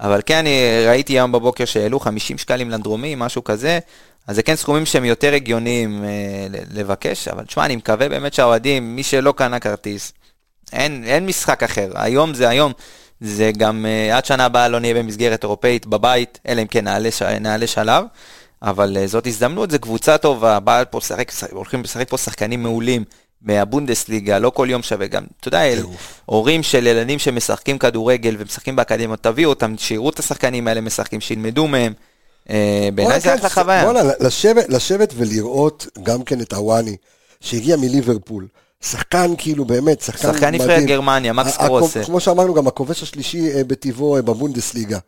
[SPEAKER 2] אבל כן, אני ראיתי היום בבוקר שהעלו 50 שקלים לדרומי, משהו כזה, אז זה כן סכומים שהם יותר הגיוניים אה, ל- לבקש, אבל תשמע, אני מקווה באמת שהאוהדים, מי שלא קנה כרטיס, אין, אין משחק אחר, היום זה היום. זה גם uh, עד שנה הבאה לא נהיה במסגרת אירופאית בבית, אלא אם כן נעלה, ש- נעלה שלב, אבל uh, זאת הזדמנות, זו קבוצה טובה, באה פה לשחק, ש- הולכים לשחק פה שחקנים מעולים מהבונדסליגה, לא כל יום שווה גם, אתה יודע, אל,
[SPEAKER 1] טירוף.
[SPEAKER 2] הורים של ילדים שמשחקים כדורגל ומשחקים באקדמיות, תביאו אותם, שיראו את השחקנים האלה משחקים, שילמדו מהם. אה, בעיניי זה
[SPEAKER 1] וואלה,
[SPEAKER 2] אחלה
[SPEAKER 1] כן,
[SPEAKER 2] חוויה.
[SPEAKER 1] וואלה, לשבת, לשבת ולראות גם כן את הוואני, שהגיע מליברפול. שחקן כאילו באמת, שחקן
[SPEAKER 2] שחקן
[SPEAKER 1] מדהים.
[SPEAKER 2] נבחרת גרמניה, מקס
[SPEAKER 1] ה- ה-
[SPEAKER 2] קרוסה.
[SPEAKER 1] כמו שאמרנו, גם הכובש השלישי אה, בטבעו אה, בבונדסליגה.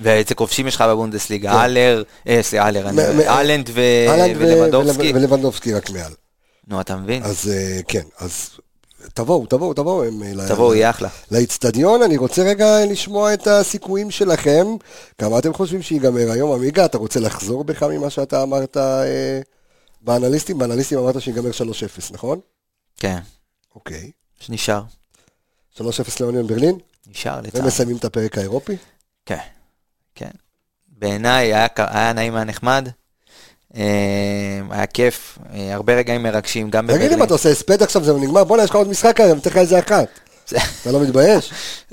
[SPEAKER 2] ואיזה כובשים יש לך בבונדסליגה, אלר, אה, סליחה, אלר, אני-
[SPEAKER 1] כן. מ- מ-
[SPEAKER 2] אהלנד ו-
[SPEAKER 1] אהלנד ו-
[SPEAKER 2] ולבנדובסקי.
[SPEAKER 1] ול- ולבנדובסקי רק מעל.
[SPEAKER 2] נו, אתה מבין?
[SPEAKER 1] אז אה, כן, אז תבואו, תבואו, תבואו. הם, אה, ל-
[SPEAKER 2] תבואו, יהיה אחלה.
[SPEAKER 1] לאיצטדיון, אני רוצה רגע לשמוע את הסיכויים שלכם. כמה אתם חושבים שיגמר היום, עמיגה? אתה רוצה לחזור בך ממה שאתה אמרת אה, באנליסטים? באנליסטים אמרת שיגמר 3-0, נכון?
[SPEAKER 2] כן,
[SPEAKER 1] אוקיי.
[SPEAKER 2] שנשאר.
[SPEAKER 1] 3-0 לאוניון ברלין,
[SPEAKER 2] נשאר לצערי.
[SPEAKER 1] ומסיימים את הפרק האירופי.
[SPEAKER 2] כן, כן. בעיניי היה, ק- היה נעים, היה נחמד. אה, היה כיף, אה, הרבה רגעים מרגשים, גם
[SPEAKER 1] תגיד
[SPEAKER 2] בברלין.
[SPEAKER 1] אם אתה עושה הספד עכשיו, זהו נגמר, בואנה, יש לך עוד משחק היום, תן לך איזה אחת. אתה לא מתבייש?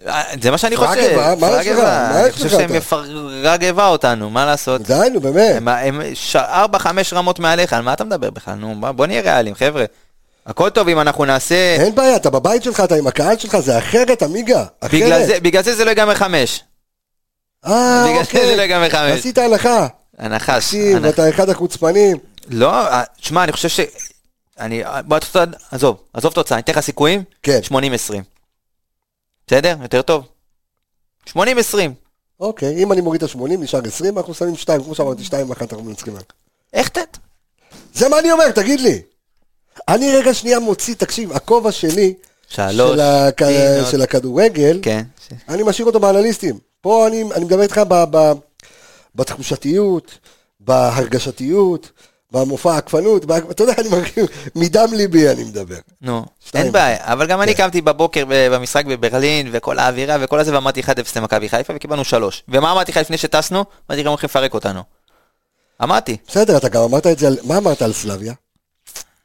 [SPEAKER 2] אה, זה מה שאני
[SPEAKER 1] פראג
[SPEAKER 2] חושב.
[SPEAKER 1] גבה, מה
[SPEAKER 2] פראג
[SPEAKER 1] יש לך?
[SPEAKER 2] גבה.
[SPEAKER 1] מה
[SPEAKER 2] אני
[SPEAKER 1] יש
[SPEAKER 2] חושב
[SPEAKER 1] לך
[SPEAKER 2] שהם
[SPEAKER 1] אתה?
[SPEAKER 2] יפרג גבה אותנו, מה לעשות?
[SPEAKER 1] די, נו, באמת.
[SPEAKER 2] הם- הם ש- ארבע, חמש רמות מעליך, על מה אתה מדבר בכלל? נו, בוא- בוא נהיה ריאליים, חבר'ה. הכל טוב אם אנחנו נעשה...
[SPEAKER 1] אין בעיה, אתה בבית שלך, אתה עם הקהל שלך, זה אחרת, עמיגה.
[SPEAKER 2] בגלל
[SPEAKER 1] אחרת.
[SPEAKER 2] זה- בגלל זה זה לא ייגמר חמש.
[SPEAKER 1] אה,
[SPEAKER 2] בגלל זה זה לא
[SPEAKER 1] אוקיי.
[SPEAKER 2] ייגמר חמש.
[SPEAKER 1] עשית הנחה.
[SPEAKER 2] הנחש.
[SPEAKER 1] תקשיב,
[SPEAKER 2] הנחש.
[SPEAKER 1] אתה אחד החוצפנים.
[SPEAKER 2] לא, אה, תשמע, אני חושב ש... אני... בוא תוצאה, עזוב, עזוב תוצאה, אני אתן לך סיכויים?
[SPEAKER 1] כן.
[SPEAKER 2] 80-20. בסדר? יותר טוב. 80-20.
[SPEAKER 1] אוקיי, אם אני מוריד את ה-80, נשאר 20, אנחנו שמים 2, כמו שאמרתי, 2 אחת אנחנו מנצחים.
[SPEAKER 2] איך ת...
[SPEAKER 1] זה מה אני אומר, תגיד לי. אני רגע שנייה מוציא, תקשיב, הכובע שלי,
[SPEAKER 2] שלוש.
[SPEAKER 1] של, הכ...
[SPEAKER 2] פינות.
[SPEAKER 1] של הכדורגל,
[SPEAKER 2] כן. ש-
[SPEAKER 1] אני משאיר אותו באנליסטים. פה אני, אני מדבר איתך ב, ב, בתחושתיות, בהרגשתיות, במופע העקפנות, בה... אתה יודע, אני מרגיש, מדם ליבי אני מדבר.
[SPEAKER 2] נו,
[SPEAKER 1] שתיים. כן.
[SPEAKER 2] אין בעיה, אבל גם אני קמתי בבוקר ב- במשחק בברלין, וכל האווירה וכל הזה, ואמרתי 1-0 למכבי חיפה, וקיבלנו 3. ומה אמרתי לך לפני שטסנו? אמרתי לך, הם הולכים לפרק אותנו. אמרתי,
[SPEAKER 1] בסדר, אתה גם אמרת את זה, על... מה אמרת על סלביה?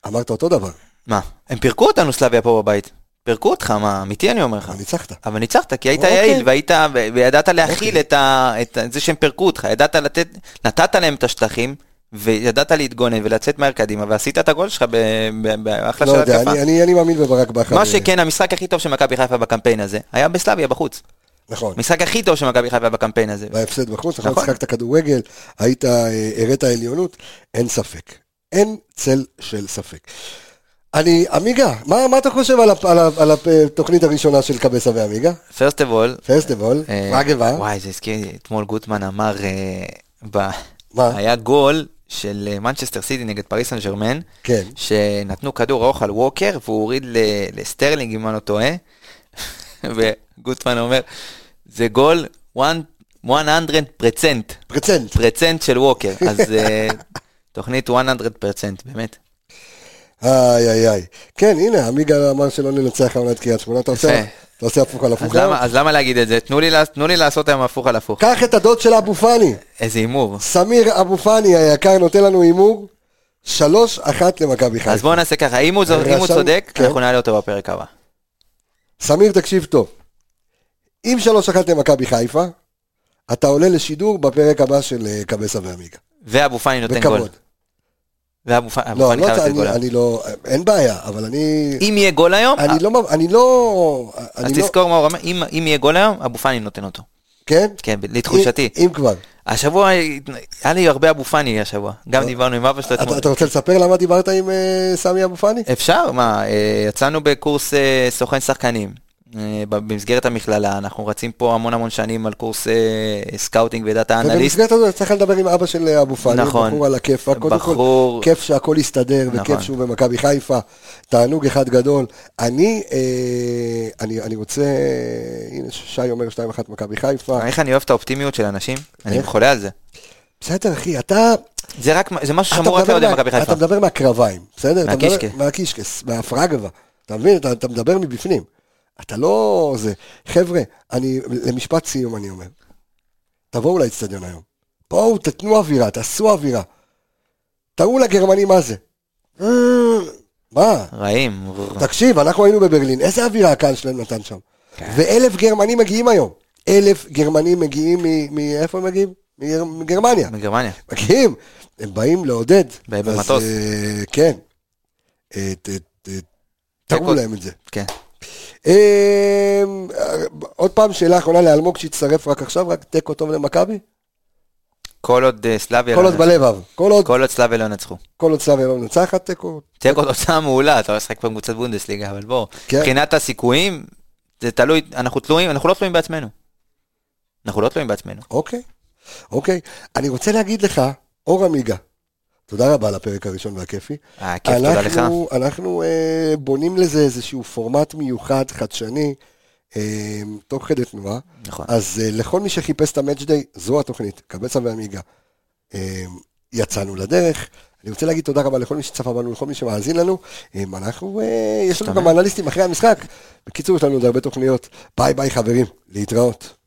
[SPEAKER 1] אמרת אותו דבר,
[SPEAKER 2] מה? הם פירקו אותנו סלביה פה בבית. פירקו אותך, מה? אמיתי אני אומר לך.
[SPEAKER 1] אבל ניצחת.
[SPEAKER 2] אבל ניצחת, כי היית
[SPEAKER 1] אוקיי.
[SPEAKER 2] יעיל, והיית, ו- וידעת להכיל את, ה, את ה- זה שהם פירקו אותך, ידעת לתת, נתת להם את השטחים, וידעת להתגונן ולצאת מהר קדימה, ועשית את הגול שלך ב- ב- באחלה
[SPEAKER 1] לא
[SPEAKER 2] של
[SPEAKER 1] יודע,
[SPEAKER 2] התקפה.
[SPEAKER 1] אני, אני, אני מאמין בברק בכר.
[SPEAKER 2] מה
[SPEAKER 1] אה,
[SPEAKER 2] שכן, המשחק הכי טוב של מכבי חיפה בקמפיין הזה, היה בסלביה בחוץ.
[SPEAKER 1] נכון.
[SPEAKER 2] המשחק הכי טוב של מכבי חיפה בקמפיין הזה.
[SPEAKER 1] בהפסד בחוץ, נכון,
[SPEAKER 2] נכון.
[SPEAKER 1] שיחקת כדורגל, היית, אה, הראת עליונות, אין ספק. אין צל של ספק. אני, עמיגה, מה, מה אתה חושב על, הפ- על, ה- על התוכנית הראשונה של קבסה ועמיגה?
[SPEAKER 2] First of all,
[SPEAKER 1] פסטיבול,
[SPEAKER 2] אה,
[SPEAKER 1] מה גבה?
[SPEAKER 2] וואי, זה הזכיר לי, אתמול גוטמן אמר, אה, ב-
[SPEAKER 1] מה?
[SPEAKER 2] היה גול של אה, מנצ'סטר סיטי נגד פריס סן ג'רמן,
[SPEAKER 1] כן.
[SPEAKER 2] שנתנו כדור ארוך על ווקר, והוא הוריד ל- לסטרלינג, אם אני לא טועה, וגוטמן אומר, זה גול 100% פרצנט,
[SPEAKER 1] פרצנט.
[SPEAKER 2] פרצנט של ווקר, אז אה, תוכנית 100% פרצנט, באמת.
[SPEAKER 1] איי איי איי. כן, הנה, עמיגה אמר שלא ננצח העונה את קריית שמונה, אתה עושה
[SPEAKER 2] יפה.
[SPEAKER 1] אתה עושה הפוך על הפוך.
[SPEAKER 2] אז למה, אז למה להגיד את זה? תנו לי, לע- תנו לי לעשות היום הפוך על הפוך.
[SPEAKER 1] קח את הדוד של אבו פאני,
[SPEAKER 2] איזה הימור.
[SPEAKER 1] סמיר אבו פאני היקר, נותן לנו הימור, 3-1 למכבי
[SPEAKER 2] אז
[SPEAKER 1] חיפה.
[SPEAKER 2] בואו נעשה ככה, אם הוא זו- אם הוא
[SPEAKER 1] רשם-
[SPEAKER 2] צודק,
[SPEAKER 1] כן.
[SPEAKER 2] אנחנו נעלה אותו בפרק הבא.
[SPEAKER 1] סמיר, תקשיב טוב. אם 3-1 למכבי חיפה, אתה עולה לשידור בפרק הבא של אה, קבסה ועמיגה.
[SPEAKER 2] ואבו פאני נותן גול.
[SPEAKER 1] בכבוד.
[SPEAKER 2] ואבו פאני אבו
[SPEAKER 1] לא,
[SPEAKER 2] פאני
[SPEAKER 1] לא,
[SPEAKER 2] חייב לתת גול.
[SPEAKER 1] אני- אני לא, אין בעיה, אבל אני...
[SPEAKER 2] אם יהיה גול היום,
[SPEAKER 1] אני לא, אני לא,
[SPEAKER 2] אז
[SPEAKER 1] אני לא,
[SPEAKER 2] תזכור מה הוא אמר, אם אם יהיה גול היום, אבו פאני נותן אותו.
[SPEAKER 1] כן?
[SPEAKER 2] כן, ב- לתחושתי.
[SPEAKER 1] אם אם כבר.
[SPEAKER 2] השבוע, היה לי הרבה אבו פאני השבוע. גם דיברנו עם אבא שלו
[SPEAKER 1] אתה-
[SPEAKER 2] אתמול.
[SPEAKER 1] אה- אתה רוצה לספר למה דיברת עם אה, סמי אבו פאני?
[SPEAKER 2] אפשר? מה, אה, יצאנו בקורס אה, סוכן שחקנים. אה, ב- במסגרת המכללה, אנחנו רצים פה המון המון שנים על קורס אה, סקאוטינג ודאטה אנליסט.
[SPEAKER 1] ובמסגרת הזאת צריך לדבר עם אבא של אה, אבו פאני,
[SPEAKER 2] נכון.
[SPEAKER 1] בחור על הכיפאק, קודם כל,
[SPEAKER 2] בחור-
[SPEAKER 1] כיף שהכל הסתדר, וכיף
[SPEAKER 2] נכון.
[SPEAKER 1] שהוא במכבי חיפה, תענוג אחד גדול. אני, אה, אני אני רוצה, הנה שי אומר 2-1 מכבי חיפה,
[SPEAKER 2] איך אני אוהב את האופטימיות של אנשים, אני
[SPEAKER 1] איך?
[SPEAKER 2] חולה על זה.
[SPEAKER 1] בסדר אחי, אתה,
[SPEAKER 2] זה רק, זה משהו
[SPEAKER 1] אתה
[SPEAKER 2] שאמור רק
[SPEAKER 1] מדבר
[SPEAKER 2] לעודד
[SPEAKER 1] מה-
[SPEAKER 2] מכבי
[SPEAKER 1] אתה
[SPEAKER 2] חיפה.
[SPEAKER 1] מדבר מהקרביים, בסדר? אתה מדבר-
[SPEAKER 2] מהקישקע.
[SPEAKER 1] מהקישקס, מהפרגבה. אתה מבין? אתה- אתה מדבר מבפנים. אתה לא... זה... חבר'ה, אני... למשפט סיום אני אומר. תבואו לאצטדיון היום. בואו, תתנו אווירה, תעשו אווירה. תראו לגרמנים מה זה. מה?
[SPEAKER 2] רעים.
[SPEAKER 1] תקשיב, אנחנו היינו בברלין, איזה אווירה הקהל שלהם נתן שם.
[SPEAKER 2] כן.
[SPEAKER 1] ואלף גרמנים מגיעים היום. אלף גרמנים מגיעים מ... מאיפה הם מגיעים? מגר- מגרמניה.
[SPEAKER 2] מגרמניה.
[SPEAKER 1] מגיעים, הם באים לעודד.
[SPEAKER 2] ב-
[SPEAKER 1] אז,
[SPEAKER 2] במטוס.
[SPEAKER 1] אה, כן. אה, ת- ת- תראו
[SPEAKER 2] תיקו.
[SPEAKER 1] להם את זה.
[SPEAKER 2] כן.
[SPEAKER 1] אה, עוד פעם, שאלה אחרונה לאלמוג שהצטרף רק עכשיו, רק תיקו טוב למכבי?
[SPEAKER 2] כל עוד אה, סלאביה
[SPEAKER 1] כל
[SPEAKER 2] לא
[SPEAKER 1] עוד בלבב, כל עוד-
[SPEAKER 2] כל עוד סלאביה לא ינצחו.
[SPEAKER 1] כל עוד סלאביה לא מנצחת תיקו.
[SPEAKER 2] תיקו תוצאה מעולה, אתה לא משחק בקבוצת בונדסליגה, אבל בוא,
[SPEAKER 1] כן.
[SPEAKER 2] מבחינת הסיכויים, זה תלוי, אנחנו תלויים, אנחנו לא תלויים בעצמנו. אנחנו לא תלויים בעצמנו.
[SPEAKER 1] אוקיי, אוקיי. אני רוצה להגיד לך, אור עמיגה, תודה רבה על הפרק הראשון והכיפי.
[SPEAKER 2] אה, כיף, תודה לך.
[SPEAKER 1] אנחנו, אנחנו אה, בונים לזה איזשהו פורמט מיוחד, חדשני, אה, תוך כדי תנועה.
[SPEAKER 2] נכון.
[SPEAKER 1] אז אה, לכל מי שחיפש את המאץ' דיי, זו התוכנית, קבצה ועמיגה. אה, יצאנו לדרך. אני רוצה להגיד תודה רבה לכל מי שצפה בנו, לכל מי שמאזין לנו. אה, אנחנו, אה, יש לנו גם אנליסטים אחרי המשחק. בקיצור, יש לנו עוד הרבה תוכניות. ביי ביי חברים, להתראות.